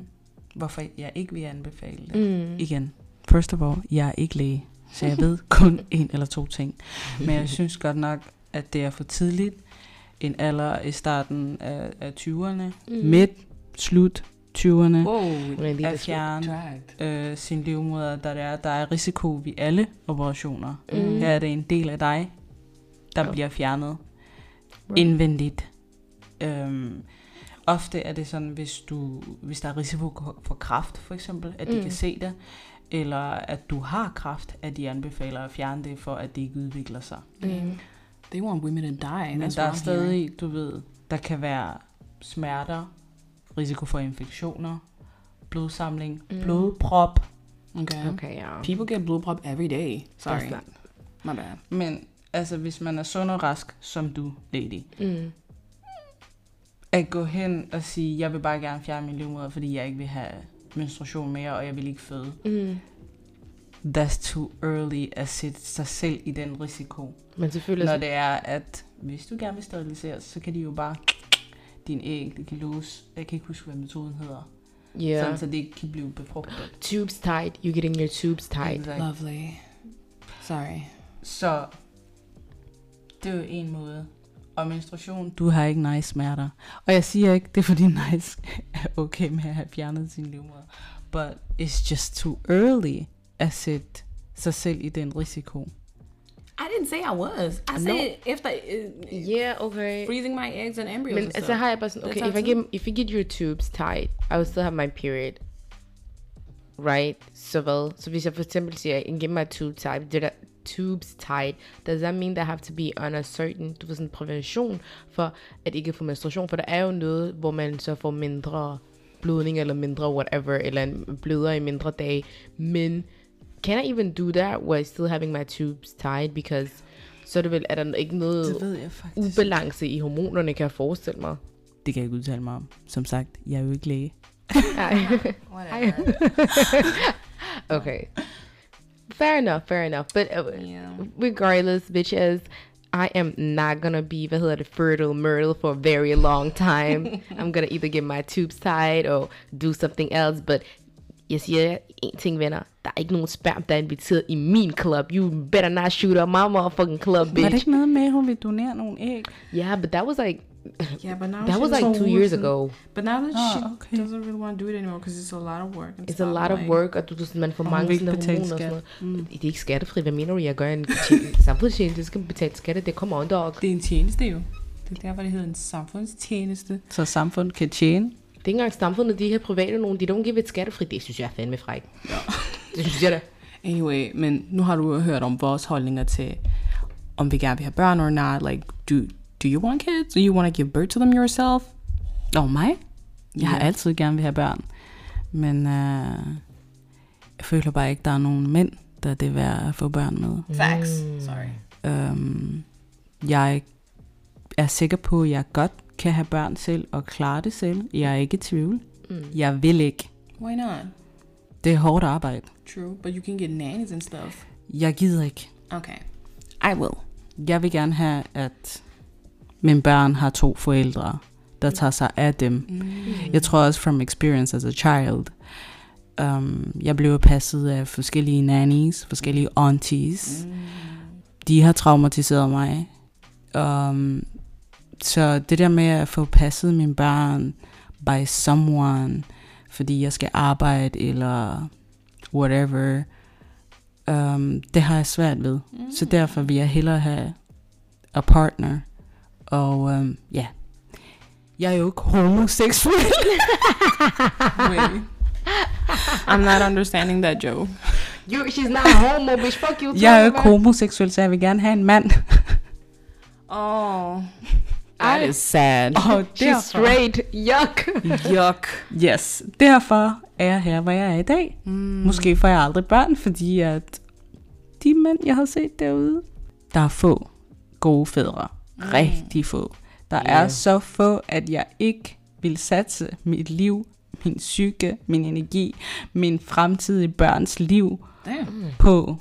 [SPEAKER 4] hvorfor jeg ikke vil anbefale det. Mm. Igen, first of all, jeg er ikke læge, så jeg ved kun en eller to ting. Men jeg synes godt nok, at det er for tidligt. En alder i starten af, af 20'erne, mm. midt, slut 20'erne,
[SPEAKER 2] Wow,
[SPEAKER 3] Men det er svært.
[SPEAKER 4] at fjerne
[SPEAKER 2] dragt.
[SPEAKER 4] øh, sin livmoder, der er, der er risiko ved alle operationer. Mm. Her er det en del af dig, der
[SPEAKER 3] Ja.
[SPEAKER 4] bliver fjernet
[SPEAKER 3] Right.
[SPEAKER 4] indvendigt. Øhm, ofte er det sådan, hvis, du, hvis der er risiko for kræft, for eksempel, at de mm. kan se det, eller at du har kræft, at de anbefaler at fjerne det, for at det ikke udvikler sig.
[SPEAKER 3] Mm.
[SPEAKER 2] They want women to die.
[SPEAKER 4] Men
[SPEAKER 2] That's
[SPEAKER 4] der er
[SPEAKER 2] what I'm hearing.
[SPEAKER 4] stadig, du ved, der kan være smerter, risiko for infektioner, blodsamling, mm. blodprop,
[SPEAKER 2] Okay.
[SPEAKER 3] Okay, ja.
[SPEAKER 2] People get blowprop every day. Sorry.
[SPEAKER 3] That's
[SPEAKER 2] My bad.
[SPEAKER 4] Men altså, hvis man er sund og rask, som du, lady,
[SPEAKER 3] Mm.
[SPEAKER 4] at gå hen og sige, jeg vil bare gerne fjerne min livmoder, fordi jeg ikke vil have menstruation mere, og jeg vil ikke føde.
[SPEAKER 3] Mm.
[SPEAKER 4] That's too early at sætte sig selv i den risiko.
[SPEAKER 3] Men selvfølgelig...
[SPEAKER 4] Når det er, at hvis du gerne vil steriliseres, så kan de jo bare din æg, det kan låse. Jeg kan ikke huske, hvad metoden hedder.
[SPEAKER 3] yeah.
[SPEAKER 4] Sådan, så det ikke kan blive befrugtet.
[SPEAKER 3] Tubes tight. You're getting your tubes tight.
[SPEAKER 4] Exakt.
[SPEAKER 2] Lovely. Sorry.
[SPEAKER 4] Så det er jo en måde. Og menstruation, du har ikke nice smerter. Og jeg siger ikke, det er fordi nice er okay med at have fjernet sin livmoder. But it's just too early at sætte sig selv i den risiko.
[SPEAKER 2] I didn't say I was. I said if I
[SPEAKER 3] Yeah, okay.
[SPEAKER 2] freezing my eggs and embryos.
[SPEAKER 3] Men altså har jeg bare sådan,
[SPEAKER 2] Det
[SPEAKER 3] okay,
[SPEAKER 2] tager
[SPEAKER 3] if I,
[SPEAKER 2] tid.
[SPEAKER 3] get, if you get your tubes tight, I will still have my period. Right? Så hvad? Så hvis jeg for eksempel siger, I can get my tube tight, did I, tubes tight, does that mean that I have to be on a certain, du ved sådan prævention, for at ikke få menstruation? For der er jo noget, hvor man så får mindre blødning, eller mindre whatever, eller en bløder i mindre dage. Men can I even do that while still having my tubes tight? Because så er det vel, er der ikke noget
[SPEAKER 4] ved jeg
[SPEAKER 3] Mm.
[SPEAKER 4] faktisk.
[SPEAKER 3] ubalance i hormonerne, kan jeg forestille mig.
[SPEAKER 4] Det kan jeg ikke udtale mig om. Som sagt, jeg er jo ikke læge.
[SPEAKER 3] Ej. Ej. okay. Fair enough, fair enough. But uh, regardless, bitches, I am not gonna be, hvad hedder det, fertile myrtle for a very long time. I'm gonna either get my tubes tied or do something else, but jeg siger en ting, venner. Der er ikke nogen sperm, der er inviteret i min club. You better not shoot up my motherfucking club,
[SPEAKER 4] Var det
[SPEAKER 3] bitch.
[SPEAKER 4] ikke noget med, at hun vil donere nogle æg?
[SPEAKER 3] Yeah, but that was like,
[SPEAKER 2] yeah, but now
[SPEAKER 3] that
[SPEAKER 2] she
[SPEAKER 3] was like
[SPEAKER 2] doesn't-
[SPEAKER 3] two years ago.
[SPEAKER 2] But now that
[SPEAKER 4] Ah,
[SPEAKER 2] she
[SPEAKER 4] okay.
[SPEAKER 2] doesn't really want to do it anymore because it's a lot of work. and
[SPEAKER 3] It's a
[SPEAKER 2] stuff,
[SPEAKER 3] lot of
[SPEAKER 2] like-
[SPEAKER 3] work, og du, du, man får
[SPEAKER 4] Og hun vil
[SPEAKER 3] mange
[SPEAKER 4] ikke
[SPEAKER 3] sådan hormoner
[SPEAKER 4] betale
[SPEAKER 3] og sådan
[SPEAKER 4] skat.
[SPEAKER 3] noget. Mm. Det er ikke skattefri. Hvad mener du, jeg gør en tje- samfundstjeneste? Det skal man betale skat, det kommer under. Og det
[SPEAKER 2] Det er en tjeneste jo. Det er derfor, det hedder en samfundstjeneste.
[SPEAKER 4] Så samfundet kan tjene.
[SPEAKER 3] er ikke engang samfundet, de her private nogen, de don't give et skattefri. Det synes jeg er fandme fræk. det synes jeg da.
[SPEAKER 2] Anyway, men nu har du jo hørt om vores holdninger til, om vi gerne vil have børn or not. Like, do, do you want kids? Do you want to give birth to them yourself?
[SPEAKER 4] Og mig? Jeg har altid gerne vil have børn. Men øh, jeg føler bare ikke, der er nogen mænd, der det er værd at få børn med.
[SPEAKER 2] Mm. Facts. Sorry.
[SPEAKER 4] Øhm, jeg er sikker på, at jeg godt kan have børn selv og klare det selv. Jeg er ikke i tvivl. Mm. Jeg vil ikke.
[SPEAKER 2] Why not?
[SPEAKER 4] Det er hårdt arbejde.
[SPEAKER 2] True, but you can get nannies and stuff.
[SPEAKER 4] Jeg gider ikke.
[SPEAKER 2] Okay.
[SPEAKER 4] I will. Jeg vil gerne have, at mine børn har to forældre, der tager sig af dem. Mm. Jeg tror også from experience as a child. Um, jeg blev passet af forskellige nannies, forskellige aunties. Mm. De har traumatiseret mig. Um, så det der med at få passet mine børn by someone, fordi jeg skal arbejde eller whatever, um, det har jeg svært ved. Mm. Så derfor vil jeg hellere have a partner. Og um, ja, jeg er jo ikke homoseksuel.
[SPEAKER 2] Wait. I'm not understanding that joke.
[SPEAKER 3] You, she's not a homo, bitch. Fuck you.
[SPEAKER 4] jeg er jo
[SPEAKER 3] talking
[SPEAKER 4] ikke
[SPEAKER 3] about.
[SPEAKER 4] homoseksuel, så jeg vil gerne have en mand.
[SPEAKER 2] Oh. That is sad.
[SPEAKER 4] Og
[SPEAKER 3] She's
[SPEAKER 4] derfor,
[SPEAKER 3] straight. Yuck.
[SPEAKER 2] Yuck.
[SPEAKER 4] yes, derfor er jeg her, hvor jeg er i dag. Mm.
[SPEAKER 2] Hmm.
[SPEAKER 4] Måske får jeg aldrig børn, fordi at de mænd, jeg har set derude, der er få gode fædre.
[SPEAKER 2] Hmm.
[SPEAKER 4] Mm. Rigtig få. Der yeah. er så få, at jeg ikke vil satse mit liv, min psyke, min energi, min fremtidige børns liv
[SPEAKER 2] Damn.
[SPEAKER 4] på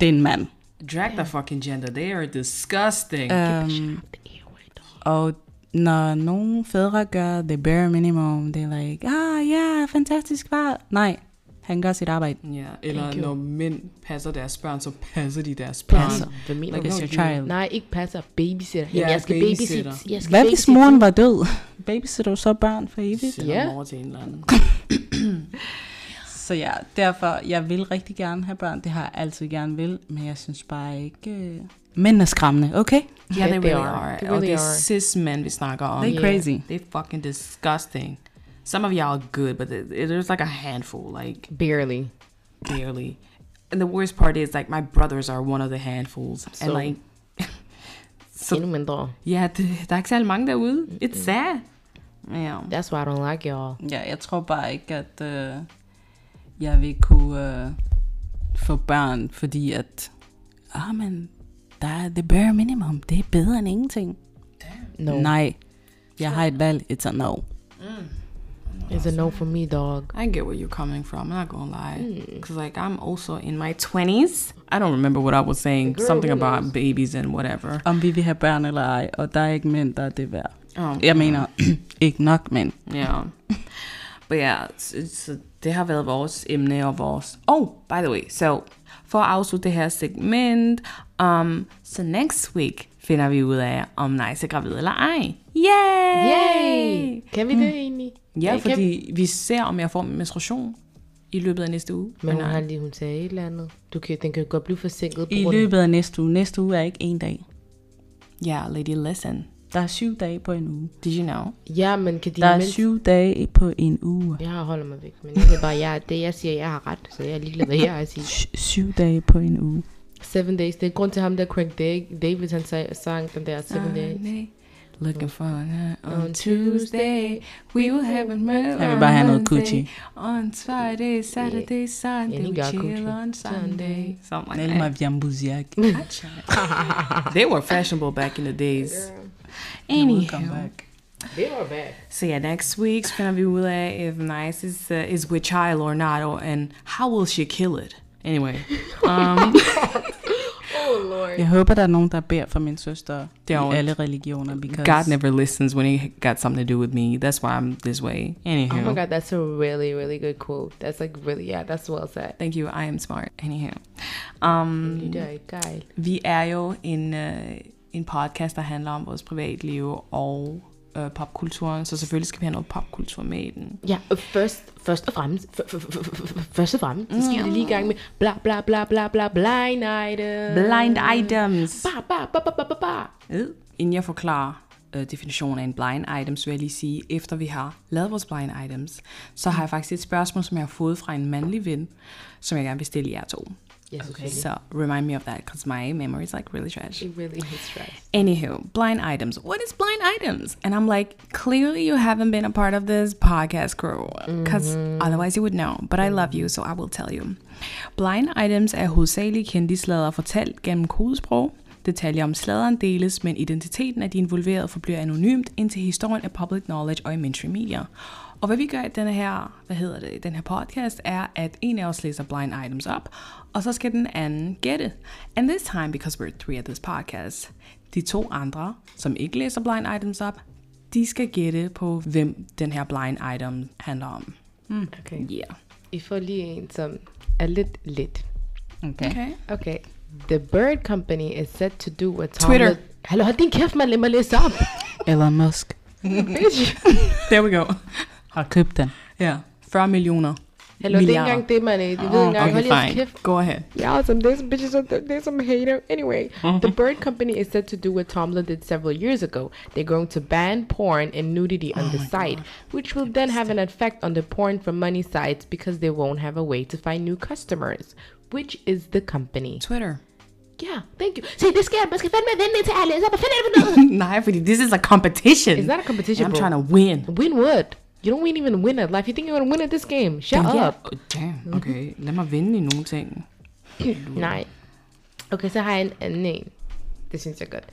[SPEAKER 4] den mand.
[SPEAKER 3] Uh,
[SPEAKER 4] Øhm,
[SPEAKER 2] Drag the fucking gender. They are disgusting.
[SPEAKER 4] Um, og når nogle fædre gør the bare minimum, det er like, ah ja, yeah, fantastisk far. Nej, han gør sit arbejde.
[SPEAKER 2] Ja, eller
[SPEAKER 3] you.
[SPEAKER 2] når mænd passer deres børn, så passer de deres børn.
[SPEAKER 3] Passer. Hvad mener
[SPEAKER 2] Like
[SPEAKER 3] du?
[SPEAKER 4] It's
[SPEAKER 2] no,
[SPEAKER 4] your
[SPEAKER 2] you-
[SPEAKER 4] child.
[SPEAKER 3] Nej, ikke passer. Babysitter.
[SPEAKER 2] Ja,
[SPEAKER 3] Ja, jeg skal
[SPEAKER 2] babysitter.
[SPEAKER 3] babysitte. Jeg skal
[SPEAKER 4] Hvad hvis
[SPEAKER 3] babysitte.
[SPEAKER 4] moren var død? Babysitter du så børn for evigt?
[SPEAKER 2] Sender
[SPEAKER 3] Ja.
[SPEAKER 2] dem over til en eller anden.
[SPEAKER 4] Så ja, derfor, jeg vil rigtig gerne have børn. Det har jeg altid gerne vil, men jeg synes bare ikke... Øh... Mænd er skræmmende, okay?
[SPEAKER 2] Ja,
[SPEAKER 3] Ja,
[SPEAKER 2] they
[SPEAKER 3] they
[SPEAKER 2] really
[SPEAKER 3] are.
[SPEAKER 2] are.
[SPEAKER 3] They
[SPEAKER 2] Og
[SPEAKER 3] really
[SPEAKER 2] det er
[SPEAKER 3] are.
[SPEAKER 2] cis-mænd, vi snakker om.
[SPEAKER 4] They
[SPEAKER 3] Yeah.
[SPEAKER 4] crazy.
[SPEAKER 2] They fucking disgusting. Some of y'all are good, but th- there's like a handful, like
[SPEAKER 3] Barely.
[SPEAKER 2] barely. And the worst part is like my brothers are one of the handfuls, and
[SPEAKER 3] So-
[SPEAKER 2] like
[SPEAKER 3] So,
[SPEAKER 2] so
[SPEAKER 3] Endnu mindre.
[SPEAKER 2] yeah, det, der er ikke særlig mange derude. It's
[SPEAKER 3] Mm.
[SPEAKER 2] sad.
[SPEAKER 4] Ja.
[SPEAKER 3] That's why I don't like y'all.
[SPEAKER 4] ja, jeg tror bare ikke, at øh, jeg vil kunne øh, få børn, fordi at... Ah, men der er the bare minimum. Det er bedre end ingenting.
[SPEAKER 3] No.
[SPEAKER 4] Nej, jeg har et valg. It's a no.
[SPEAKER 3] It's a no for me, dog.
[SPEAKER 2] I get where you're coming from. I'm not gonna lie,
[SPEAKER 3] Mm.
[SPEAKER 2] because like I'm also in my twenties. I don't remember what I was saying.
[SPEAKER 3] Girl,
[SPEAKER 2] Something
[SPEAKER 3] who
[SPEAKER 2] about babies and whatever.
[SPEAKER 4] Om vi vil have børn eller ej, og der er ikke mænd, der er det værd.
[SPEAKER 2] Oh,
[SPEAKER 4] Jeg mener, ikke nok mænd.
[SPEAKER 2] Ja. But yeah, så, så det har været vores emne og vores... Oh, by the way, so for at afslutte det her segment, um, så next week finder vi ud af, om Nice er gravid eller ej. Yay!
[SPEAKER 3] Yay! Kan vi det egentlig?
[SPEAKER 2] Ja,
[SPEAKER 3] kan vi.
[SPEAKER 2] fordi vi ser, om jeg får min menstruation i løbet af næste uge.
[SPEAKER 3] Men hun har lige, hun sagde et eller andet. Du kan, den kan godt blive forsinket på
[SPEAKER 4] I
[SPEAKER 3] grund af...
[SPEAKER 4] løbet af næste uge. Næste uge er ikke en dag.
[SPEAKER 2] Ja, yeah, lady, listen.
[SPEAKER 4] Der er syv dage på en uge.
[SPEAKER 2] Did you know?
[SPEAKER 3] Ja, men kan
[SPEAKER 4] Der
[SPEAKER 3] dine
[SPEAKER 4] er
[SPEAKER 3] mænd...
[SPEAKER 4] syv dage på en uge.
[SPEAKER 3] Jeg har holder mig væk, men jeg ved bare, jeg, det jeg siger, jeg har ret, så jeg er ligeglad, hvad jeg har at sige.
[SPEAKER 4] Sy- Syv dage på en uge.
[SPEAKER 3] Seven Days, det er grund til ham der Craig Dag- David, han sag, sang den der Seven Days.
[SPEAKER 2] Looking for her on Tuesday. We will have a murder
[SPEAKER 4] Jeg vil bare have noget coochie.
[SPEAKER 2] On Friday, Saturday, Sunday,
[SPEAKER 3] Any
[SPEAKER 2] we
[SPEAKER 3] girl
[SPEAKER 2] chill
[SPEAKER 3] coochie.
[SPEAKER 2] on Sunday. Something like
[SPEAKER 4] Nel
[SPEAKER 2] that.
[SPEAKER 4] mig jambuziak.
[SPEAKER 2] They were fashionable back in the days.
[SPEAKER 4] Come
[SPEAKER 2] Anyhow,
[SPEAKER 4] back.
[SPEAKER 3] They are back.
[SPEAKER 2] so yeah, next week's gonna be with if Nice is uh, is with child or not, or and how will she kill it? Anyway, um,
[SPEAKER 3] Oh lord.
[SPEAKER 4] Jeg håber, der er nogen, der beder for min søster i
[SPEAKER 2] Don't.
[SPEAKER 4] alle religioner. Because
[SPEAKER 2] God never listens when he got something to do with me. That's why I'm this way.
[SPEAKER 3] Oh
[SPEAKER 2] Anyhow,
[SPEAKER 3] my god, that's a really, really good quote. That's like really, yeah, that's well said.
[SPEAKER 2] thank you. I am smart. Anyhow, um,
[SPEAKER 3] You did, guy.
[SPEAKER 2] Vi er jo en, øh, en podcast, der handler om vores privatliv og øh, popkulturen, så selvfølgelig skal vi have noget popkultur med i den.
[SPEAKER 3] Ja, og først, først og fremmest, f- f- f- f- f- først og fremmest, så skal vi lige i gang med bla bla bla bla bla blind item.
[SPEAKER 2] Blind items!
[SPEAKER 3] Ba ba ba ba ba ba ba.
[SPEAKER 2] Øh. Inden jeg forklarer øh, definitionen af en blind item, så vil jeg lige sige, efter vi har lavet vores blind items, så har jeg faktisk et spørgsmål, som jeg har fået fra en mandlig ven, som jeg gerne vil stille jer to.
[SPEAKER 3] Yes, okay.
[SPEAKER 2] Så remind me of that, because my memory is like really trash.
[SPEAKER 3] It really is stress.
[SPEAKER 2] Anywho, blind items. What is blind items? And I'm like, clearly you haven't been a part of this podcast crew, because otherwise you would know. But I love you, so I will tell you. Blind items er hovedsageligt kendtislader fortalt gennem kodesprog. Detaljer om sladeren deles, men identiteten af de involverede forbliver anonymt, indtil historien er public knowledge og i mainstream medier. Og hvad vi gør i denne her, hvad hedder det, i den her podcast, er, at en af os læser blind items op, og så skal den anden gætte. And this time, because we're three at this podcast, de to andre, som ikke læser blind items op, de skal gætte på, hvem den her blind item handler om.
[SPEAKER 3] Okay.
[SPEAKER 2] Yeah.
[SPEAKER 3] I får lige en, som er lidt lidt.
[SPEAKER 4] Okay. okay.
[SPEAKER 2] Okay.
[SPEAKER 3] Okay. The bird company is said to do what Tom
[SPEAKER 2] Twitter.
[SPEAKER 3] Le- Hallo, hold din kæft, man. Lad mig læse op.
[SPEAKER 4] Elon Musk
[SPEAKER 3] Bitch.
[SPEAKER 2] There we go.
[SPEAKER 4] har købt den.
[SPEAKER 2] Yeah. 40 millioner.
[SPEAKER 3] Hallo, det er ikke
[SPEAKER 2] Milliarder.
[SPEAKER 3] engang det, man. Det ved ikke engang. Hold jeres kæft.
[SPEAKER 2] Go ahead.
[SPEAKER 3] Yeah, some there's bitches out there, there's some hater. Anyway, the bird company is said to do what Tomlin did several years ago. They're going to ban porn and nudity on the site, which will then have an effect on the porn for money sites because they won't have a way to find new customers, which is the company.
[SPEAKER 2] Twitter.
[SPEAKER 3] Yeah, thank you. See, this guy, man skal fandme vende til alle, så finder jeg noget.
[SPEAKER 2] nah, everybody, this is a competition.
[SPEAKER 3] It's not a competition,
[SPEAKER 2] I'm
[SPEAKER 3] bro.
[SPEAKER 2] trying to win.
[SPEAKER 3] Win what? You don't win even win at life. You think you're gonna win at this game? Shut
[SPEAKER 2] Yeah.
[SPEAKER 3] up.
[SPEAKER 2] Oh, damn. Okay, lad mig vinde i nogle ting.
[SPEAKER 3] Nej. Okay, så har jeg en anden en. Det synes jeg er godt.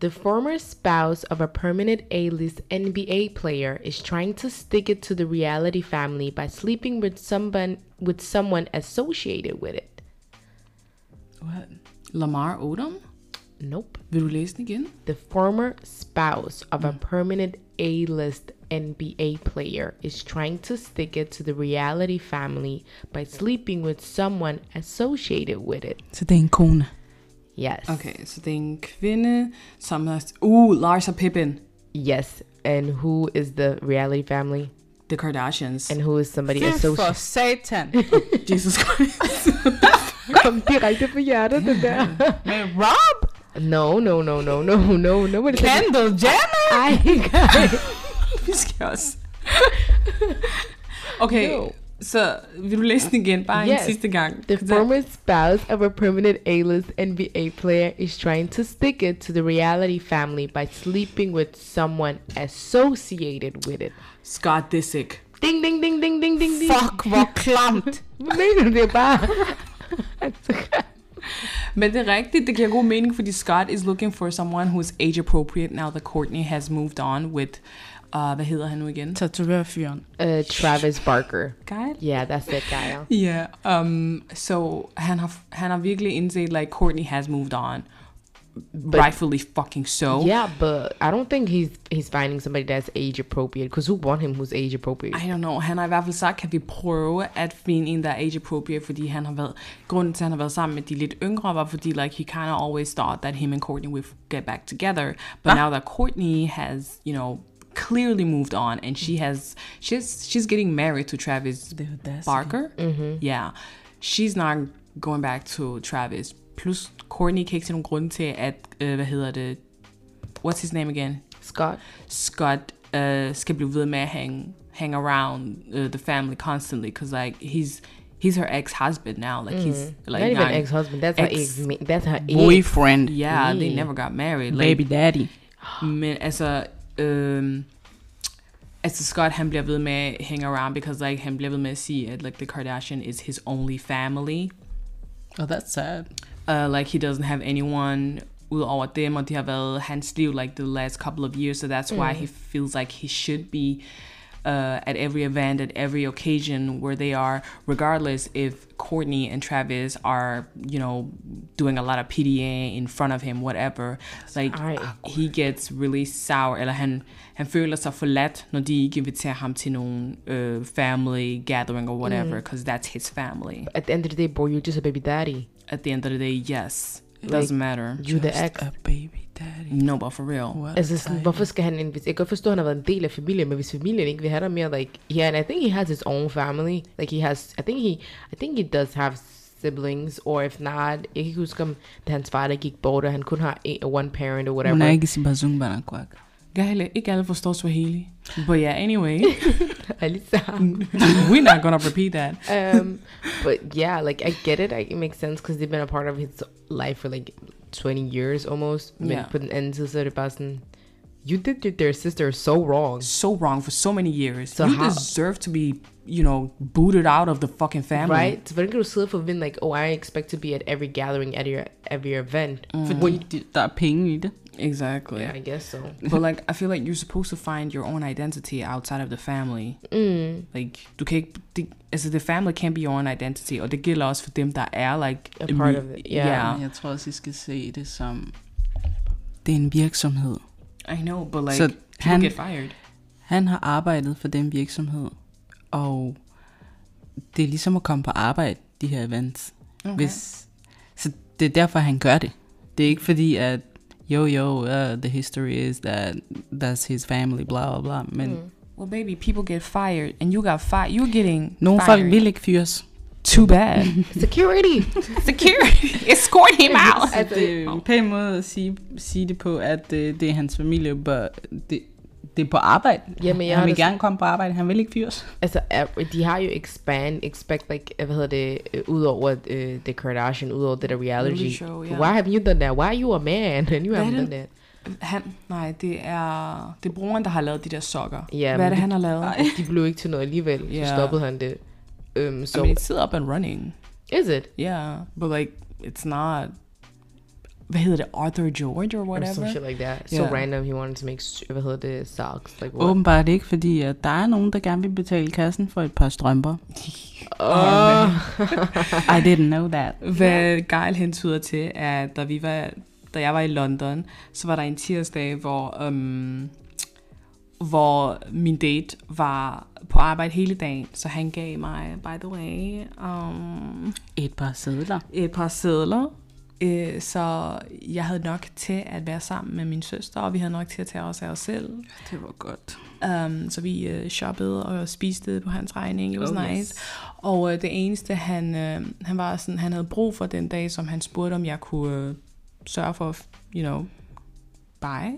[SPEAKER 3] The former spouse of a permanent A-list NBA player is trying to stick it to the reality family by sleeping with someone with someone associated with it.
[SPEAKER 4] What?
[SPEAKER 2] Lamar Odom?
[SPEAKER 3] Nope.
[SPEAKER 2] Vil du læse den igen?
[SPEAKER 3] The former spouse of a permanent A list NBA player is trying to stick it to the reality family by sleeping with someone associated with it.
[SPEAKER 4] Så det er en kone.
[SPEAKER 3] Yes.
[SPEAKER 2] Okay, så det er en kvinde, som har... Uh, Larsa Pippen.
[SPEAKER 3] Yes. And who is the reality family?
[SPEAKER 2] The Kardashians. Oh,
[SPEAKER 3] And who is somebody
[SPEAKER 4] For
[SPEAKER 3] associated?
[SPEAKER 4] satan.
[SPEAKER 2] Jesus Christ.
[SPEAKER 3] Kom direkte på hjertet, den der.
[SPEAKER 4] Med Rob
[SPEAKER 3] No, no, no, no, no, no. Nobody said-
[SPEAKER 4] Kendall Jenner.
[SPEAKER 3] Ej,
[SPEAKER 2] Vi skal også. Okay,
[SPEAKER 3] No.
[SPEAKER 2] så vil du læse den igen? Bare
[SPEAKER 3] Yes.
[SPEAKER 2] en sidste gang.
[SPEAKER 3] The
[SPEAKER 2] Så-
[SPEAKER 3] former spouse of a permanent A-list NBA player is trying to stick it to the reality family by sleeping with someone associated with it.
[SPEAKER 2] Scott Disick.
[SPEAKER 3] Ding, ding, ding, ding, ding, ding, ding.
[SPEAKER 4] Fuck, hvor klamt.
[SPEAKER 3] Hvad mener du det er bare?
[SPEAKER 2] Men det er rigtigt, det giver god mening, fordi Scott is looking for someone who is age appropriate now that Courtney has moved on with, uh, hvad hedder han nu igen?
[SPEAKER 4] Tatovørfyren.
[SPEAKER 3] uh, Travis Barker.
[SPEAKER 2] Guy?
[SPEAKER 3] Yeah, that's it, Kyle.
[SPEAKER 2] Ja, yeah, um, so han har, han har virkelig indset, like, Courtney has moved on. Rightfully fucking so.
[SPEAKER 3] Yeah, but I don't think he's he's finding somebody that's age appropriate. Cause who want him who's age appropriate?
[SPEAKER 2] I don't know, han har i hvert fald sagt, kan vi prøve at finde en, der er age appropriate, fordi han har været, grunden til, at han har været sammen med de lidt yngre, var fordi, like, he kind of always thought that him and Courtney would get back together, but now that Courtney has, you know, clearly moved on, and she has, she's, she's getting married to Travis
[SPEAKER 4] The audacity.
[SPEAKER 2] Barker, yeah, she's not going back to Travis, plus Courtney kan ikke se nogen grund til, at, øh, hvad hedder det, what's his name again?
[SPEAKER 3] Scott.
[SPEAKER 2] Scott uh, skal blive ved med at hang, hang around uh, the family constantly, because like he's he's her ex husband now. Like he's like
[SPEAKER 3] Mm. Not even
[SPEAKER 2] not-
[SPEAKER 3] ex-husband. That's her ex.
[SPEAKER 2] ex-
[SPEAKER 3] That's her ex.
[SPEAKER 4] Boyfriend.
[SPEAKER 2] Yeah, they never got married. Like,
[SPEAKER 4] Baby daddy.
[SPEAKER 2] men altså, øhm, altså Scott han bliver ved med at hang around, because like han bliver ved med at sige, at like the Kardashian is his only family.
[SPEAKER 4] Oh, that's sad.
[SPEAKER 2] uh, like he doesn't have anyone udover dem, og det har været hans liv like the last couple of years, so that's why he feels like he should be uh, at every event, at every occasion where they are, regardless if Courtney and Travis are, you know, doing a lot of PDA in front of him, whatever. Like
[SPEAKER 3] Ej.
[SPEAKER 2] he gets really sour, eller han, han føler sig forladt, når de ikke inviterer ham til nogen uh, family gathering or whatever, because that's his family.
[SPEAKER 3] At the end of the day, boy, you're just a baby daddy.
[SPEAKER 2] At the end of the day, yes, it doesn't matter.
[SPEAKER 3] You the ex.
[SPEAKER 4] A baby daddy.
[SPEAKER 2] No, but for real.
[SPEAKER 4] What?
[SPEAKER 3] Altså, sådan, hvorfor skal han invitere? Jeg kan godt forstå, at han har været en del af familien, men hvis familien ikke vil have dig mere, like, yeah, and I think he has his own family. Like, he has, I think he, I think he does have siblings, or if not, jeg kan ikke huske, om da hans far, der gik bort, og han kun har en, one parent, or
[SPEAKER 4] Hun er
[SPEAKER 3] whatever.
[SPEAKER 4] ikke i sin bazungbanakwak.
[SPEAKER 2] Gale, ikke alle forstår Swahili. But yeah, anyway,
[SPEAKER 3] Alisa.
[SPEAKER 2] we're not gonna repeat that.
[SPEAKER 3] um, but yeah, like, I get it. I, it makes sense, because they've been a part of his life for, like, 20 years almost. Men
[SPEAKER 2] Yeah.
[SPEAKER 3] på den anden side, så er det bare sådan, you did your, their sister so wrong.
[SPEAKER 2] So wrong for so many years.
[SPEAKER 3] So
[SPEAKER 2] you
[SPEAKER 3] how-
[SPEAKER 2] deserve to be, you know, booted out of the fucking family.
[SPEAKER 3] Right? Så hvordan kan du sidde og forvente, like, oh, I expect to be at every gathering, at your, every event?
[SPEAKER 2] Mm.
[SPEAKER 4] Fordi de- der er penge i det.
[SPEAKER 2] Exactly.
[SPEAKER 3] I guess so.
[SPEAKER 2] But like, I feel like you're supposed to find your own identity outside of the family.
[SPEAKER 3] Mm.
[SPEAKER 2] Like, du kan ikke, det, altså, the family can't be your own identity, og det gælder også for dem, der er, like,
[SPEAKER 3] A part of it, yeah.
[SPEAKER 4] Men Jeg tror også, I skal se det som... Det er en virksomhed.
[SPEAKER 2] I know, but like,
[SPEAKER 4] Så
[SPEAKER 2] people
[SPEAKER 4] han-
[SPEAKER 2] get fired.
[SPEAKER 4] Han har arbejdet for den virksomhed, og det er ligesom at komme på arbejde, de her events. Okay. Hvis, så det er derfor, han gør det. Det er ikke fordi, at jo, jo, uh, the history is that that's his family, bla bla bla. Men mm.
[SPEAKER 2] Well, baby, people get fired, and you got fired. You're getting
[SPEAKER 4] nogle
[SPEAKER 2] fired.
[SPEAKER 4] folk vil ikke fyres.
[SPEAKER 2] Too bad.
[SPEAKER 3] Security!
[SPEAKER 2] Security escort him out.
[SPEAKER 3] altså,
[SPEAKER 4] Det er en pæn måde at sige, sige det på, at øh, det, det er hans familie, but det, det er på arbejde.
[SPEAKER 3] Jamen, jeg har
[SPEAKER 4] han vil
[SPEAKER 3] det
[SPEAKER 4] gerne komme på arbejde, han vil ikke fyres.
[SPEAKER 3] altså, er- de har jo expand, expect, like, hvad hedder det, øh, udover øh, The Kardashian, udover det der reality.
[SPEAKER 2] show, yeah.
[SPEAKER 3] Why haven't you done that? Why are you a man and you
[SPEAKER 2] Hvad er
[SPEAKER 3] haven't
[SPEAKER 2] det?
[SPEAKER 3] done that?
[SPEAKER 2] Han, nej, det er, det er broren, der har lavet de der sokker.
[SPEAKER 3] Ja,
[SPEAKER 2] Hvad
[SPEAKER 3] men
[SPEAKER 2] er det,
[SPEAKER 3] det-
[SPEAKER 2] han har lavet? I
[SPEAKER 3] De blev ikke til noget alligevel, så
[SPEAKER 2] Ja.
[SPEAKER 3] stoppede han det. Um, so,
[SPEAKER 2] mean, it's still up and running.
[SPEAKER 3] is it?
[SPEAKER 2] Yeah, but like, it's not... Hvad hedder det? Arthur George or
[SPEAKER 3] Or some
[SPEAKER 2] whatever?
[SPEAKER 3] shit like that. So
[SPEAKER 2] Yeah.
[SPEAKER 3] random, he wanted to make, s- hvad hedder det, socks.
[SPEAKER 4] Oh
[SPEAKER 3] Like, what?
[SPEAKER 4] Åbenbart ikke, fordi at der er nogen, der gerne vil betale kassen for et par strømper. I didn't know that.
[SPEAKER 2] Hvad Geil hentyder til, er, da vi var da jeg var i London, så var der en tirsdag, hvor, øhm, hvor min date var på arbejde hele dagen, så han gav mig, by the way, um,
[SPEAKER 4] Et par sædler.
[SPEAKER 2] et par sædler. Øh, så jeg havde nok til at være sammen med min søster, og vi havde nok til at tage os af os selv.
[SPEAKER 4] Det var godt.
[SPEAKER 2] Um, så vi øh, shoppede og spiste på hans regning. It was
[SPEAKER 4] Oh,
[SPEAKER 2] oh,
[SPEAKER 4] yes.
[SPEAKER 2] nice. Og øh, det eneste, han, øh, han, var sådan, han havde brug for den dag, som han spurgte, om jeg kunne øh, sørge for, at, you know, buy,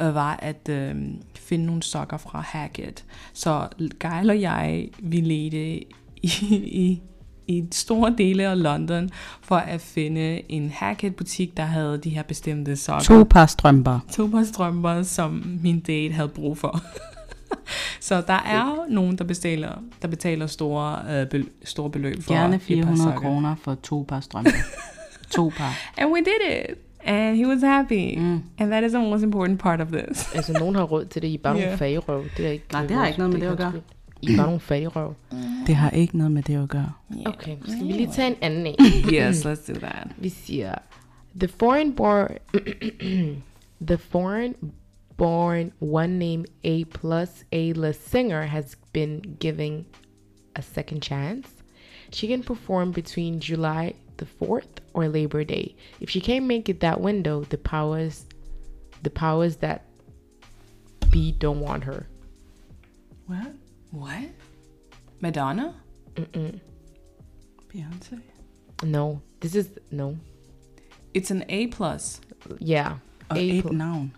[SPEAKER 2] øh, var at øh, finde nogle sokker fra Hackett. Så Geil og jeg, vi ledte i, i, i store dele af London for at finde en Hackett-butik, der havde de her bestemte sokker
[SPEAKER 4] To par strømper.
[SPEAKER 2] tobaksdrømmer, som min date havde brug for. så der er jo nogen, der betaler, der betaler store, øh, bel, store beløb for
[SPEAKER 4] Gerne
[SPEAKER 2] et par
[SPEAKER 4] 400
[SPEAKER 2] sokker.
[SPEAKER 4] kroner for to par strømper. to par.
[SPEAKER 2] And we did it. And he was happy. Mm. And that is the most important part of this.
[SPEAKER 3] Altså, nogen har råd til det. I er bare
[SPEAKER 2] Ja.
[SPEAKER 3] nogle fagerøv. Det er ikke,
[SPEAKER 4] Nej, det har ikke noget med det at gøre.
[SPEAKER 3] hans skyld. I er bare nogle fagerøv. Mm.
[SPEAKER 4] Det har ikke noget med det at gøre.
[SPEAKER 3] Okay, skal vi lige tage en anden en?
[SPEAKER 2] yes, let's do that.
[SPEAKER 3] Vi siger, the foreign born, the foreign born one name A plus A list singer has been giving a second chance. She can perform between July the 4th or Labor Day. If she can't make it that window, the powers the powers that be don't want her.
[SPEAKER 4] What?
[SPEAKER 2] What? Madonna?
[SPEAKER 4] Beyoncé?
[SPEAKER 3] No. This is no.
[SPEAKER 2] It's an A+, plus,
[SPEAKER 3] Yeah.
[SPEAKER 4] Og
[SPEAKER 3] A
[SPEAKER 4] et
[SPEAKER 3] pl-
[SPEAKER 4] navn.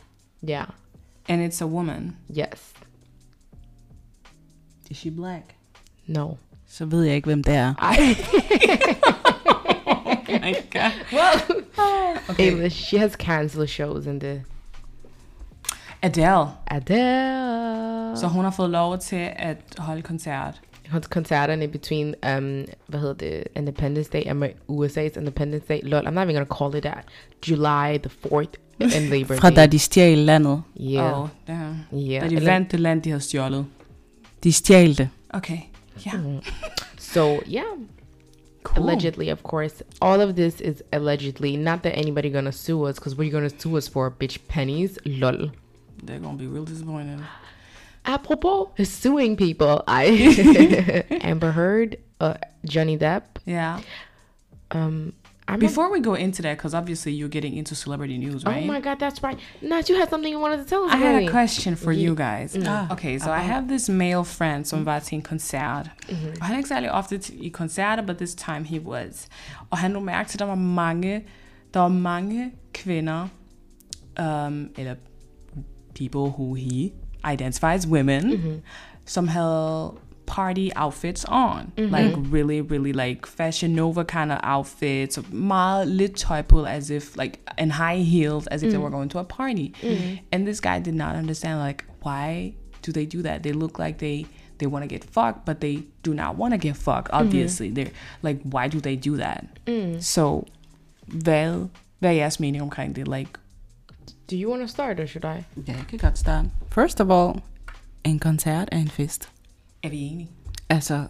[SPEAKER 3] yeah.
[SPEAKER 2] and it's a woman.
[SPEAKER 3] Yes.
[SPEAKER 4] Is she black?
[SPEAKER 3] No.
[SPEAKER 4] Så ved jeg ikke, hvem det er.
[SPEAKER 2] Oh
[SPEAKER 3] A-list. She has canceled shows in the
[SPEAKER 2] Adele.
[SPEAKER 3] Adele.
[SPEAKER 2] Så hun har fået lov til at holde koncert.
[SPEAKER 3] Hans koncerterne i between, um, hvad hedder det, Independence Day, Amer- USA's Independence Day, lol, I'm not even gonna call it that, July the 4th and Labor
[SPEAKER 4] Fra da Oh.
[SPEAKER 3] Day.
[SPEAKER 4] de stjal landet.
[SPEAKER 3] Yeah,
[SPEAKER 2] Og det her.
[SPEAKER 3] yeah.
[SPEAKER 2] Da de
[SPEAKER 3] Eller-
[SPEAKER 2] vandt det land, de havde stjålet.
[SPEAKER 4] De stjal det.
[SPEAKER 2] Okay. Ja. Yeah.
[SPEAKER 3] So, yeah,
[SPEAKER 2] Cool.
[SPEAKER 3] allegedly, of course. All of this is allegedly, not that anybody gonna sue us, because what you gonna sue us for, bitch, pennies, lol.
[SPEAKER 2] They're gonna be real disappointed.
[SPEAKER 3] Apropos suing people, I, Amber Heard, uh, Johnny Depp,
[SPEAKER 2] Yeah.
[SPEAKER 3] um, I'm a-
[SPEAKER 2] Before we go into that, because obviously you're getting into celebrity news,
[SPEAKER 3] Oh
[SPEAKER 2] right?
[SPEAKER 3] my god, that's right. Nat, you had something you wanted to tell us.
[SPEAKER 2] I had
[SPEAKER 3] honey.
[SPEAKER 2] a question for you guys.
[SPEAKER 3] Mm.
[SPEAKER 2] Okay, so I have this male friend som var til en koncert.
[SPEAKER 3] Mm-hmm.
[SPEAKER 2] Og han er ikke særlig ofte til- i koncerter, but this time he was. Og han lå mærke til, at der var mange, der var mange kvinder, um, eller people who he identifies women, som havde party outfits on. Like really, really like Fashion Nova kind of outfits. Meget lidt tøj på, as if like, and high heels, as if they were going to a party. And this guy did not understand like, why do they do that? They look like they they want to get fucked, but they do not want to get fucked, obviously. They're like, why do they do that? So, hvad, hvad er jeres mening omkring det? Like,
[SPEAKER 3] Do you want to start or should I?
[SPEAKER 4] Ja, jeg kan godt starte. First of all, en koncert er en fest.
[SPEAKER 2] er vi enige?
[SPEAKER 4] Altså,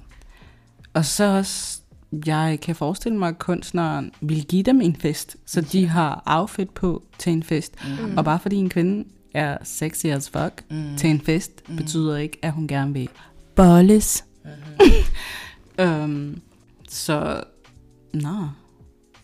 [SPEAKER 4] og så også, jeg kan forestille mig, at kunstneren vil give dem en fest, så de har outfit på til en fest. Mm. Og bare fordi en kvinde er sexy as fuck mm. til en fest, mm. betyder ikke, at hun gerne vil bolles. Mm-hmm. um, så, nah,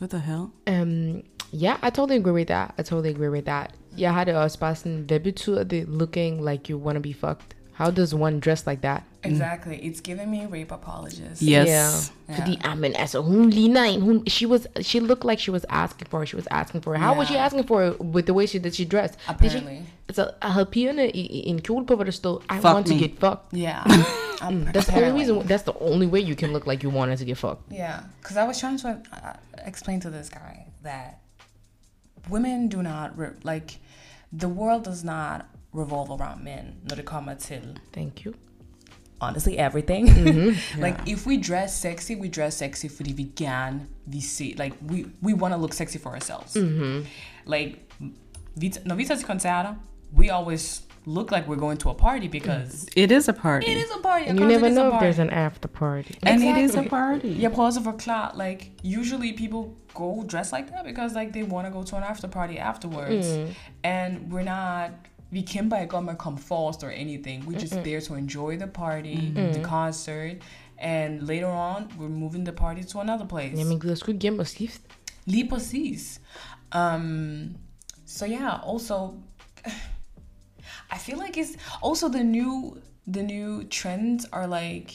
[SPEAKER 4] what the hell?
[SPEAKER 3] Um, yeah, I totally agree with that. I totally agree with that. Jeg har det også bare sådan, hvad betyder det looking like you want to be fucked? How does one dress like that?
[SPEAKER 2] Exactly. It's giving me rape apologists.
[SPEAKER 4] Yes.
[SPEAKER 3] Mm. Yeah. Fordi, ah, men altså, hun ligner en, hun, she was, she looked like she was asking for it, she was asking for it. How was she
[SPEAKER 2] Yeah.
[SPEAKER 3] asking for it with the way she, that she dressed? Did
[SPEAKER 2] Apparently.
[SPEAKER 3] she, altså, havde pigerne i, i en kjole på, hvor der stod, I
[SPEAKER 4] Fuck
[SPEAKER 3] want
[SPEAKER 4] me.
[SPEAKER 3] to get fucked.
[SPEAKER 2] Yeah. Um,
[SPEAKER 3] That's the only reason, that's the only way you can look like you wanted to get fucked.
[SPEAKER 2] Yeah, because I was trying to uh, explain to this guy that women do not re- like the world does not revolve around men. Når det kommer til
[SPEAKER 3] Thank you.
[SPEAKER 2] honestly everything.
[SPEAKER 3] Mm-hmm.
[SPEAKER 2] like if we dress sexy, we dress sexy for the vegan. We see like we we want to look
[SPEAKER 3] Mm-hmm.
[SPEAKER 2] sexy for ourselves. Like vi, når vi tager til koncerter, we always
[SPEAKER 4] look like we're going to a party because
[SPEAKER 2] It is a party.
[SPEAKER 4] it is a party.
[SPEAKER 3] And
[SPEAKER 4] of
[SPEAKER 3] you
[SPEAKER 4] course
[SPEAKER 3] never
[SPEAKER 4] it is a
[SPEAKER 3] know if
[SPEAKER 4] party.
[SPEAKER 3] there's an after party.
[SPEAKER 2] And it is a
[SPEAKER 4] Exactly.
[SPEAKER 2] party.
[SPEAKER 4] Jeg prøver også at forklare, like, usually people go dressed like that because, like, they want to go to an after party afterwards.
[SPEAKER 3] Mm.
[SPEAKER 4] And we're not, vi kæmper ikke om at komme forrest or anything. We're just there to enjoy the party, the concert. And later on, we're moving the party to another place.
[SPEAKER 3] Jamen, gider sgu ikke hjem og skifte.
[SPEAKER 4] Lige præcis. Um, so yeah, also, I feel like it's also the new the new trends are like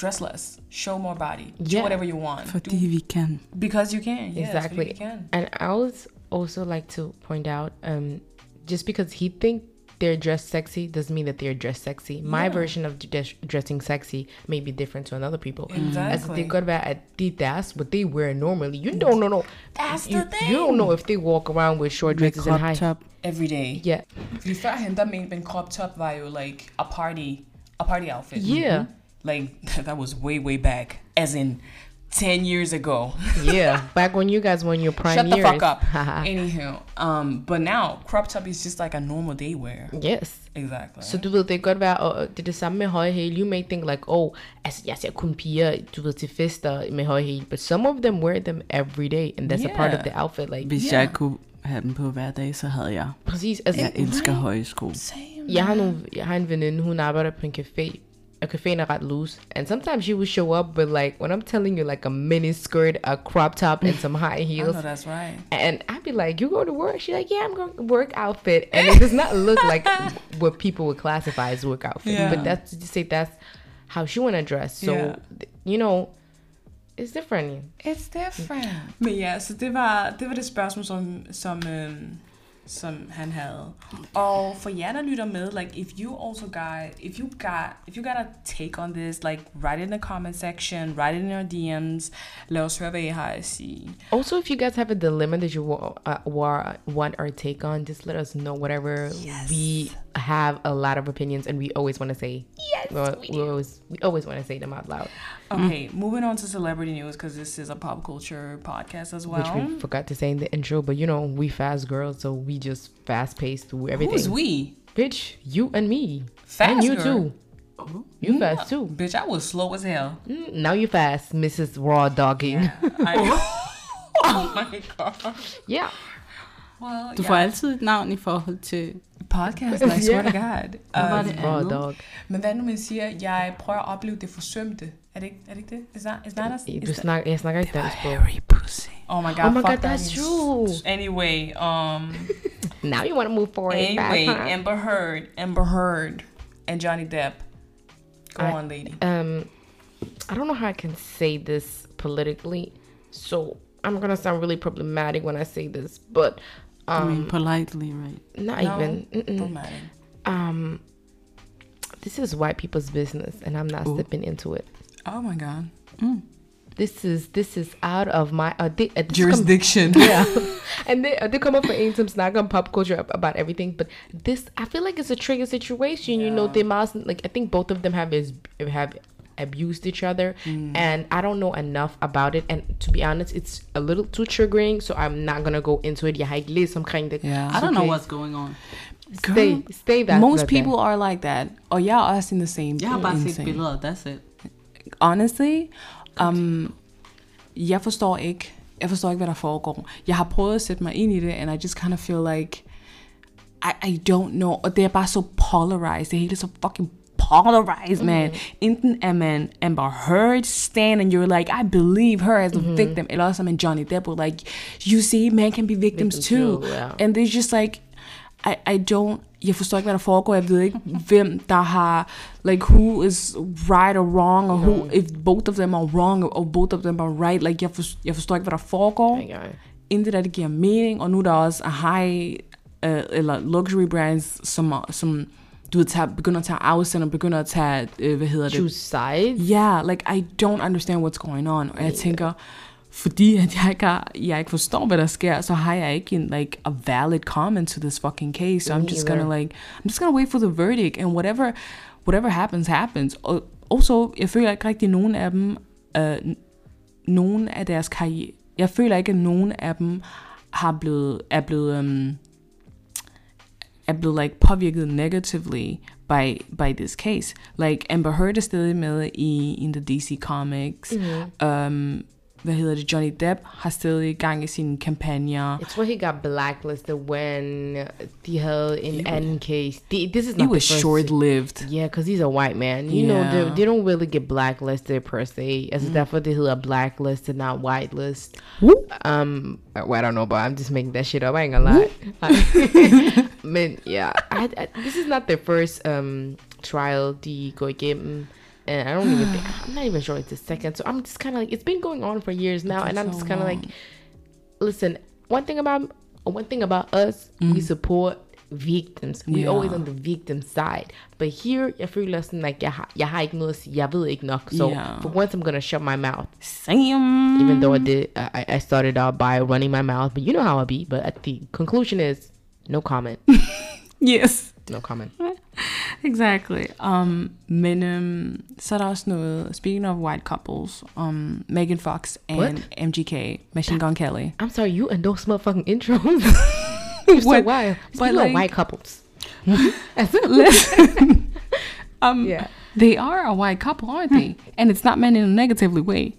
[SPEAKER 4] dress less, show more body, do
[SPEAKER 3] Yeah.
[SPEAKER 4] whatever you want,
[SPEAKER 2] Fordi vi kan.
[SPEAKER 4] Do- because you can. Yes,
[SPEAKER 3] Exactly.
[SPEAKER 4] exactly, you can.
[SPEAKER 3] And I would also like to point out, um, just because he think they're dressed sexy doesn't mean that they're dressed sexy. My version of dress- dressing sexy may be different to another people. As
[SPEAKER 4] Exactly.
[SPEAKER 3] they got about at the that's what they wear normally. You don't know.
[SPEAKER 4] That's
[SPEAKER 3] You,
[SPEAKER 4] the thing.
[SPEAKER 3] you don't know if they walk around with short
[SPEAKER 2] Med
[SPEAKER 3] dresses and
[SPEAKER 2] crop
[SPEAKER 3] high.
[SPEAKER 2] top.
[SPEAKER 4] Every day.
[SPEAKER 3] Yeah,
[SPEAKER 4] Fordi førhen, der mente man crop top var jo like a party, a party outfit.
[SPEAKER 3] yeah,
[SPEAKER 4] Like, that was way, way back. As in, 10 years ago.
[SPEAKER 3] yeah. Back when you guys were in your prime
[SPEAKER 4] Shut the
[SPEAKER 3] years.
[SPEAKER 4] fuck up. Anywho, um, but now crop top is just like a normal day wear.
[SPEAKER 3] yes.
[SPEAKER 4] Exactly.
[SPEAKER 3] Så du ved, det kan godt være, og og det er det samme med høje hæle. You may think like, oh, altså jeg ser kun piger, du ved, til fester med høje hæle. But some of them wear them every day, and that's a part of
[SPEAKER 4] Yeah.
[SPEAKER 3] the outfit. Like,
[SPEAKER 2] Hvis jeg kunne have dem på hver dag, så havde jeg.
[SPEAKER 3] præcis. Altså,
[SPEAKER 2] Jeg elsker høje sko.
[SPEAKER 4] Same.
[SPEAKER 3] jeg, har nogle, jeg har en veninde, hun arbejder på en café, og caféen er ret loose. And sometimes she would show up with like, when I'm telling you, like a mini skirt, a crop top, and some high
[SPEAKER 4] No,
[SPEAKER 3] heels.
[SPEAKER 4] that's right.
[SPEAKER 3] And I'd be like, "You go to work?" She's like, "Yeah, I'm going to work outfit," and it does not look like what people would classify as work outfit.
[SPEAKER 4] Yeah.
[SPEAKER 3] But that's to say that's how she want to dress. So
[SPEAKER 4] Yeah.
[SPEAKER 3] th- you know, it's different.
[SPEAKER 4] It's different. Men ja, så det var det, var det spørgsmål, som, som, øhm, som han havde. Og Oh, for jer, der lytter med, like, if you also got, if you got, if you got a take on this, like, write it in the comment section, write it in your DMs. Lad os høre, hvad I har at sige.
[SPEAKER 3] Also, if you guys have a dilemma that you wa- uh, wa- want our take on, just let us know. Whatever we have, a lot of opinions, and we always want to say yes. We, we always we always want to say them out loud, Mm.
[SPEAKER 4] Okay, moving on to celebrity news, because this is a pop culture podcast as well.
[SPEAKER 2] Um,
[SPEAKER 3] which we forgot to say in the intro. But you know, we fast girls, so we just fast paced through everything.
[SPEAKER 4] Who's we?
[SPEAKER 3] Bitch, you and me.
[SPEAKER 4] Faster. Oh,
[SPEAKER 3] And you too. You fast too.
[SPEAKER 4] Bitch, I was slow as hell.
[SPEAKER 3] Mm, Now you fast, Mrs. Raw Dogging. Yeah.
[SPEAKER 4] I- oh my god. Well,
[SPEAKER 2] Du får altid et navn i forhold til...
[SPEAKER 4] podcast, I swear to God.
[SPEAKER 2] var
[SPEAKER 4] Um,
[SPEAKER 2] det
[SPEAKER 3] Raw
[SPEAKER 2] andet?
[SPEAKER 3] Dog.
[SPEAKER 4] men hvad nu, man siger, jeg prøver at opleve det forsømte. Er det ikke, er det, ikke det? Is that, is that us?
[SPEAKER 3] Du snak, jeg snakker ikke dansk, bro.
[SPEAKER 2] pussy.
[SPEAKER 4] Oh my god,
[SPEAKER 3] Oh my
[SPEAKER 4] fuck
[SPEAKER 3] god,
[SPEAKER 4] that
[SPEAKER 3] that's
[SPEAKER 4] news.
[SPEAKER 3] true.
[SPEAKER 4] Anyway, um,
[SPEAKER 3] Now you want to move forward.
[SPEAKER 4] anyway,
[SPEAKER 3] fast, huh?
[SPEAKER 4] Amber Heard, Amber Heard, and Johnny Depp. Go
[SPEAKER 3] I-
[SPEAKER 4] on, lady.
[SPEAKER 3] um, I don't know how I can say this politically, so I'm gonna sound really problematic when I say this, but
[SPEAKER 2] I
[SPEAKER 3] um,
[SPEAKER 2] mean, politely, right?
[SPEAKER 3] not
[SPEAKER 4] No,
[SPEAKER 3] even. Mm-mm.
[SPEAKER 4] don't matter.
[SPEAKER 3] Um, this is white people's business, and I'm not stepping into it.
[SPEAKER 4] Oh my god.
[SPEAKER 3] This is this is out of my uh, thi- uh, this come-
[SPEAKER 4] Jurisdiction.
[SPEAKER 3] yeah and they, they come up for aim some snack on pop culture ab- about everything but this i feel like it's a trigger situation you know they must like i think both of them have is have abused each other and i don't know enough about it and to be honest it's a little too triggering so i'm not gonna go into it yeah I least some kind of
[SPEAKER 2] Yeah. I don't know what's going on.
[SPEAKER 3] stay stay that
[SPEAKER 2] Most
[SPEAKER 3] that-
[SPEAKER 2] people are like that. Og jeg er også in the same. Jeg har bare set billeder, that's it. Honestly, um, jeg forstår ikke, jeg forstår ikke, hvad der foregår. Jeg har prøvet at sætte mig ind i det, and I just kind of feel like, I, I don't know. Og det er bare så polarized. Det hele er så fucking polarized, man. Enten er man Amber Heard stand, and you're like, I believe her as a victim. Eller også er man Johnny Depp, og like, you see, man can be victims,
[SPEAKER 3] Victims
[SPEAKER 2] too.
[SPEAKER 3] too, ja.
[SPEAKER 2] And they're just like, I, I don't, jeg forstår ikke, hvad der foregår. Jeg ved ikke, hvem der har, like, who is right or wrong, or who, if both of them are wrong, or both of them are right. Like, jeg, for, jeg forstår ikke, hvad der foregår.
[SPEAKER 3] my God.
[SPEAKER 2] Intet af det giver mening, og nu er der også high, uh, eller luxury brands, som, er- som du ved, tager, begynder at tage afsend, og begynder at tage, øh, hvad hedder det?
[SPEAKER 3] choose sides
[SPEAKER 2] Yeah, like I don't understand what's going on. Og jeg tænker, uh, fordi at jeg ikke, har, jeg ikke forstår, hvad der sker, så har jeg ikke en, like, a valid comment to this fucking case. So I'm just gonna like, I'm just gonna wait for the verdict, and whatever, whatever happens, happens. Og also, jeg føler ikke rigtig nogen af dem, øh, n- nogen af deres karriere, jeg føler ikke, at nogen af dem har blevet, er blevet, øhm, er blevet like, påvirket negatively by, by this case. Like Amber Heard er stadig med i in the DC Comics. Mm. Um, hvad hedder det? Johnny Depp har stadig gang i sine kampagner.
[SPEAKER 3] It's where he got blacklisted when the hell in any case. The, this is not the
[SPEAKER 2] It was
[SPEAKER 3] first-
[SPEAKER 2] short-lived.
[SPEAKER 3] Yeah, because he's a white man. You know,
[SPEAKER 2] Yeah.
[SPEAKER 3] they, they don't really get blacklisted per se. As mm. therefore, they are blacklisted, not whitelist. Um, well, I don't know, but I'm just making that shit up. I ain't gonna lie. Like, man, yeah, I, I, this is not the first um trial the go game. And I don't even think, I'm not even sure it's the second. So I'm just kind of like, it's been going on for years now. And I'm just kind of like, listen, one thing about one thing about us, we support victims. We
[SPEAKER 2] Mm. Yeah.
[SPEAKER 3] always on the victim side. But here, jeg føler sådan, like, jeg, har- jeg har ikke noget at sige. Jeg ved ikke nok. So
[SPEAKER 2] Yeah. Mm.
[SPEAKER 3] for once, I'm gonna shut my mouth.
[SPEAKER 2] Sam.
[SPEAKER 3] Even though I did, I, I started out by running my mouth. But you know how I be. But at the conclusion is, no comment.
[SPEAKER 2] Yes.
[SPEAKER 3] No comment.
[SPEAKER 2] Exactly. Um, men øhm, så er der også noget, speaking of white couples, um, Megan Fox and
[SPEAKER 3] What?
[SPEAKER 2] MGK, Machine Gun Kelly.
[SPEAKER 3] I'm sorry, you and those motherfucking intros. You're so
[SPEAKER 2] What?
[SPEAKER 3] wild. Speaking of
[SPEAKER 2] like-
[SPEAKER 3] white couples. As if-
[SPEAKER 2] Listen. um,
[SPEAKER 3] Yeah.
[SPEAKER 2] They are a white couple, aren't they? And it's not meant in a negatively way.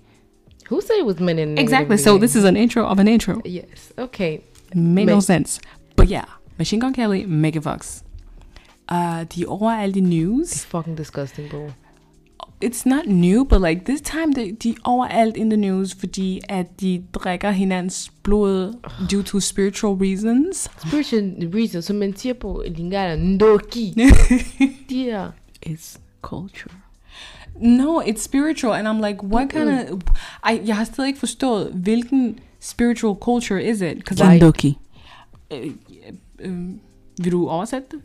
[SPEAKER 3] Who said it was men in
[SPEAKER 2] Exactly. So this is an intro of an intro.
[SPEAKER 3] Yes. Okay.
[SPEAKER 2] Made no
[SPEAKER 3] Men-
[SPEAKER 2] sense. But yeah, Machine Gun Kelly, Megan Fox. Uh, de er overalt i news.
[SPEAKER 3] Fucking disgusting, bro.
[SPEAKER 2] It's not new, but like this time, de, de er overalt in the news, fordi at de drikker hinandens blod due to spiritual reasons.
[SPEAKER 3] Spiritual reason. So men siger på lingala ndoki. Dear.
[SPEAKER 2] It's culture. No, it's spiritual, and I'm like, what kind of? I jeg har stadig ikke forstået hvilken spiritual culture is it? Cause like,
[SPEAKER 3] Kandoki.
[SPEAKER 2] øh, øh, vil du oversætte det?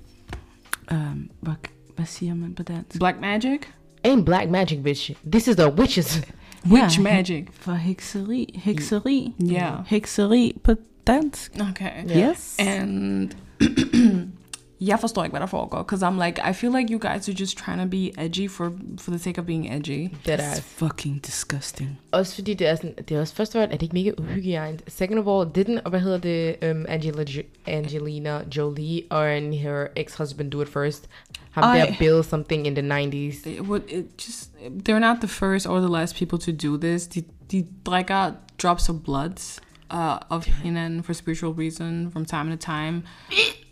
[SPEAKER 4] Um, hvad, hvad siger man på dansk?
[SPEAKER 2] Black magic,
[SPEAKER 3] Ain't black magic, bitch. This is the witches.
[SPEAKER 2] witch
[SPEAKER 4] Ja,
[SPEAKER 2] magic.
[SPEAKER 4] For hekseri. Hekseri.
[SPEAKER 2] Ja.
[SPEAKER 4] Hekseri på dansk.
[SPEAKER 2] Okay.
[SPEAKER 3] Yeah.
[SPEAKER 4] Yes.
[SPEAKER 2] And jeg forstår ikke, hvad der foregår. Because I'm like, I feel like you guys are just trying to be edgy for, for the sake of being edgy.
[SPEAKER 3] Dead
[SPEAKER 4] It's
[SPEAKER 3] ass.
[SPEAKER 4] fucking disgusting.
[SPEAKER 3] Også fordi det er sådan, det er også først og fremmest, er det ikke mega uhygiejent. Second of all, didn't, og hvad hedder det, um, Angela jo- Angelina Jolie and her ex-husband do it first? Ham
[SPEAKER 4] Ej.
[SPEAKER 3] der Bill something in the 90s.
[SPEAKER 2] It would, it just, they're not the first or the last people to do this. De, de drikker uh, drops of blood uh, of hinanden for spiritual reason from time to time.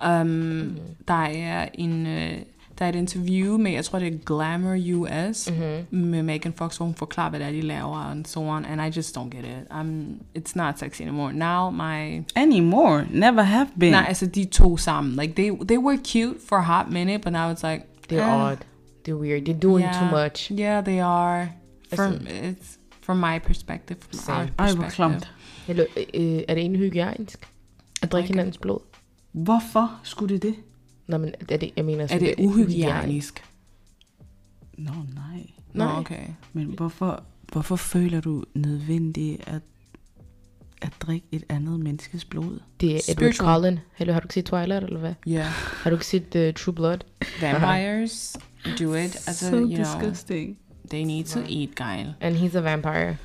[SPEAKER 2] Um, der er en... øh, der er et interview med, jeg tror det er Glamour US, mm-hmm. med Megan Fox, hvor hun forklarer, hvad det er, de laver, and so on, and I just don't get it. I'm, it's not sexy anymore. Now my...
[SPEAKER 4] Anymore. Never have been.
[SPEAKER 2] Nej, altså de to sammen. Like, they, they were cute for a hot minute, but now it's like...
[SPEAKER 3] They're
[SPEAKER 2] eh.
[SPEAKER 3] odd. They're weird. They're doing too much.
[SPEAKER 2] Yeah, they are. From it's from my perspective, from our
[SPEAKER 3] Same.
[SPEAKER 4] Ej, hvor klamt.
[SPEAKER 2] perspective.
[SPEAKER 3] Hello, øh, er det egentlig hygiejnisk? At drikke hinandens blod?
[SPEAKER 4] Hvorfor skulle det det?
[SPEAKER 3] Nå, men er det, jeg mener,
[SPEAKER 2] Er
[SPEAKER 3] sådan,
[SPEAKER 2] det uhygiejnisk?
[SPEAKER 4] Nå, nej.
[SPEAKER 2] Nå,
[SPEAKER 3] Nej.
[SPEAKER 2] okay.
[SPEAKER 4] Men hvorfor, hvorfor føler du nødvendigt at, at drikke et andet menneskes blod?
[SPEAKER 3] Det er Edward
[SPEAKER 2] Spiritual.
[SPEAKER 3] Cullen. Hello, har du ikke set Twilight, eller hvad?
[SPEAKER 2] Yeah.
[SPEAKER 3] Har du ikke set uh, True Blood?
[SPEAKER 2] Vampires do it as a, you know,
[SPEAKER 4] disgusting.
[SPEAKER 2] they need to eat, guy.
[SPEAKER 3] And he's a vampire.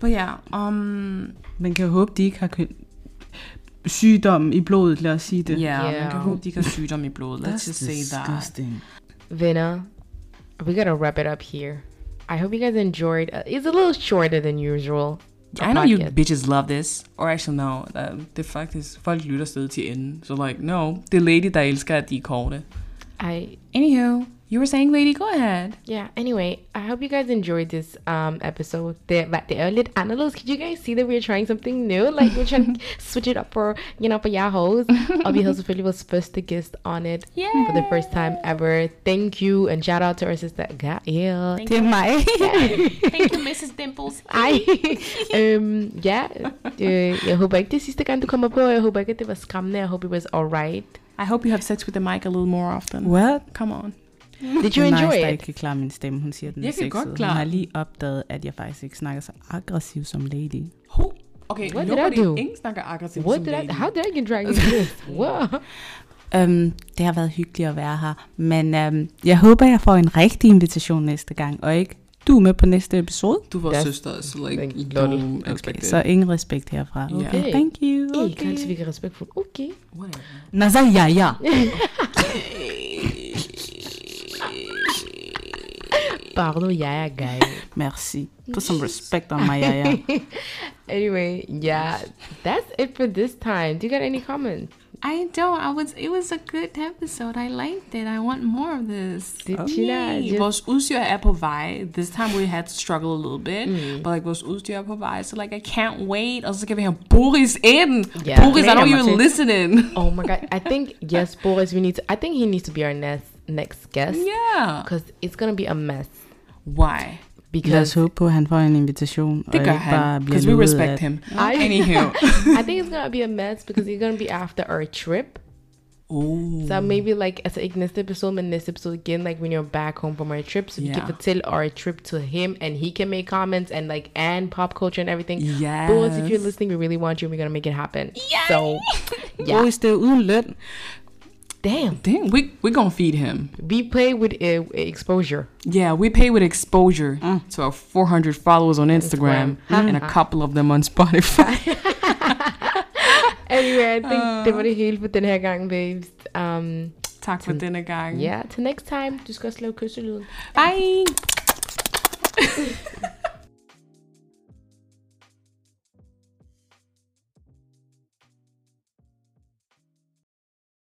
[SPEAKER 2] But yeah, um,
[SPEAKER 4] Man kan håbe, de ikke har køn... sygdommen i blodet, lad os sige det.
[SPEAKER 2] yeah, man kan
[SPEAKER 3] Yeah.
[SPEAKER 2] håbe, de ikke har sygdom i blodet. Let's just say that.
[SPEAKER 4] disgusting.
[SPEAKER 3] Vina, we gotta wrap it up here. I hope you guys enjoyed. Uh, it's a little shorter than usual.
[SPEAKER 2] I know you bitches love this, or actually no, uh, det er faktisk, folk lytter stadig til enden. So like, no, det er lady, der elsker, at de er korte.
[SPEAKER 3] I
[SPEAKER 2] Anywho, you were saying, lady, go ahead.
[SPEAKER 3] yeah. Anyway, I hope you guys enjoyed this um episode. The but the early analysts, could you guys see that we are trying something new? Like we're trying to switch it up for you know for Yahoo's. Obi Hilsfili was first guest on it for the first time ever. Thank you and shout out to our sister Gael.
[SPEAKER 1] Thank you, Mrs. Dimples.
[SPEAKER 3] Ej, øhm, ja, øh, jeg håber ikke, det er sidste gang, du kommer på. Jeg håber ikke, at det var skræmmende. Jeg håber, it was alright.
[SPEAKER 2] I hope you have sex with the mic a little more often.
[SPEAKER 4] What?
[SPEAKER 2] Come on.
[SPEAKER 3] Did you enjoy
[SPEAKER 4] nice, der
[SPEAKER 3] it?
[SPEAKER 4] ikke kan klare min stemme. Hun siger, den
[SPEAKER 2] Jeg
[SPEAKER 4] er
[SPEAKER 2] kan
[SPEAKER 4] sexet.
[SPEAKER 2] godt klare
[SPEAKER 4] Hun har
[SPEAKER 2] den.
[SPEAKER 4] lige opdaget, at jeg faktisk ikke snakker så aggressiv som lady.
[SPEAKER 2] Who? Okay,
[SPEAKER 3] What did I
[SPEAKER 2] nobody,
[SPEAKER 3] do?
[SPEAKER 2] ingen snakker aggressivt
[SPEAKER 3] What
[SPEAKER 2] som
[SPEAKER 3] did I,
[SPEAKER 2] lady.
[SPEAKER 3] how did I get dragged into this? Wow.
[SPEAKER 4] Um, det har været hyggeligt at være her, men um, jeg håber, jeg får en rigtig invitation næste gang, og ikke
[SPEAKER 5] Du er med på næste episode.
[SPEAKER 2] Du var
[SPEAKER 3] That's-
[SPEAKER 2] søster, så like,
[SPEAKER 3] like, lol.
[SPEAKER 2] don't
[SPEAKER 5] Okay,
[SPEAKER 2] expect it.
[SPEAKER 5] så ingen respekt herfra.
[SPEAKER 2] Ja.
[SPEAKER 5] Okay. Thank you.
[SPEAKER 3] Ikke altid, vi kan respektfuldt. Okay.
[SPEAKER 2] Whatever.
[SPEAKER 5] Naza, ja, ja.
[SPEAKER 3] Bardo, jeg er gay.
[SPEAKER 5] Merci. Put some respect on my ja, ja.
[SPEAKER 3] Anyway, yeah, that's it for this time. Do you got any comments?
[SPEAKER 2] I don't. I was. It was a good episode. I liked it. I want more of this.
[SPEAKER 3] Did you not
[SPEAKER 2] Oh, Yay.
[SPEAKER 3] just-
[SPEAKER 2] Vores udstyr er på vej. This time we had to struggle a little bit,
[SPEAKER 3] Mm.
[SPEAKER 2] but like vores udstyr er på vej, so like I can't wait. Og så skal vi have Boris ind.
[SPEAKER 3] Ja.
[SPEAKER 2] Boris, I know
[SPEAKER 3] Glæder mig
[SPEAKER 2] you're
[SPEAKER 3] til.
[SPEAKER 2] listening.
[SPEAKER 3] Oh my god, I think yes, Boris. We need to. I think he needs to be our next next guest
[SPEAKER 2] Yeah.
[SPEAKER 3] because it's gonna be a mess.
[SPEAKER 2] Why?
[SPEAKER 5] Lad os
[SPEAKER 3] Because
[SPEAKER 5] håbe på, at han får en invitation. og
[SPEAKER 2] Det gør
[SPEAKER 5] ikke bare
[SPEAKER 2] han.
[SPEAKER 5] bliver
[SPEAKER 2] Because we
[SPEAKER 5] lovet
[SPEAKER 2] respect
[SPEAKER 5] at-
[SPEAKER 2] him.
[SPEAKER 3] I-
[SPEAKER 2] Anywho.
[SPEAKER 3] I think it's gonna be a mess because he's gonna be after our trip.
[SPEAKER 2] Oh.
[SPEAKER 3] So maybe like as a next episode and next episode again, like when you're back home from our trip, so we
[SPEAKER 2] Yeah.
[SPEAKER 3] can tell our trip to him and he can make comments and like and pop culture and everything.
[SPEAKER 2] Yes.
[SPEAKER 3] Boris, if you're listening, we really want you. and We're gonna make it happen. So yeah,
[SPEAKER 5] Boris, det er uden løn.
[SPEAKER 3] damn,
[SPEAKER 2] Damn, we we gonna feed him.
[SPEAKER 3] we play with uh, exposure.
[SPEAKER 2] Yeah, we pay with exposure to our 400 followers on Instagram, and a couple of them on Spotify.
[SPEAKER 3] Anyway, I think
[SPEAKER 2] Uh.
[SPEAKER 3] det var det hele for den her gang, babes. Um,
[SPEAKER 2] Talk for dinner, gang.
[SPEAKER 3] yeah, til next time. Du skal også lave kysselyden.
[SPEAKER 2] Bye.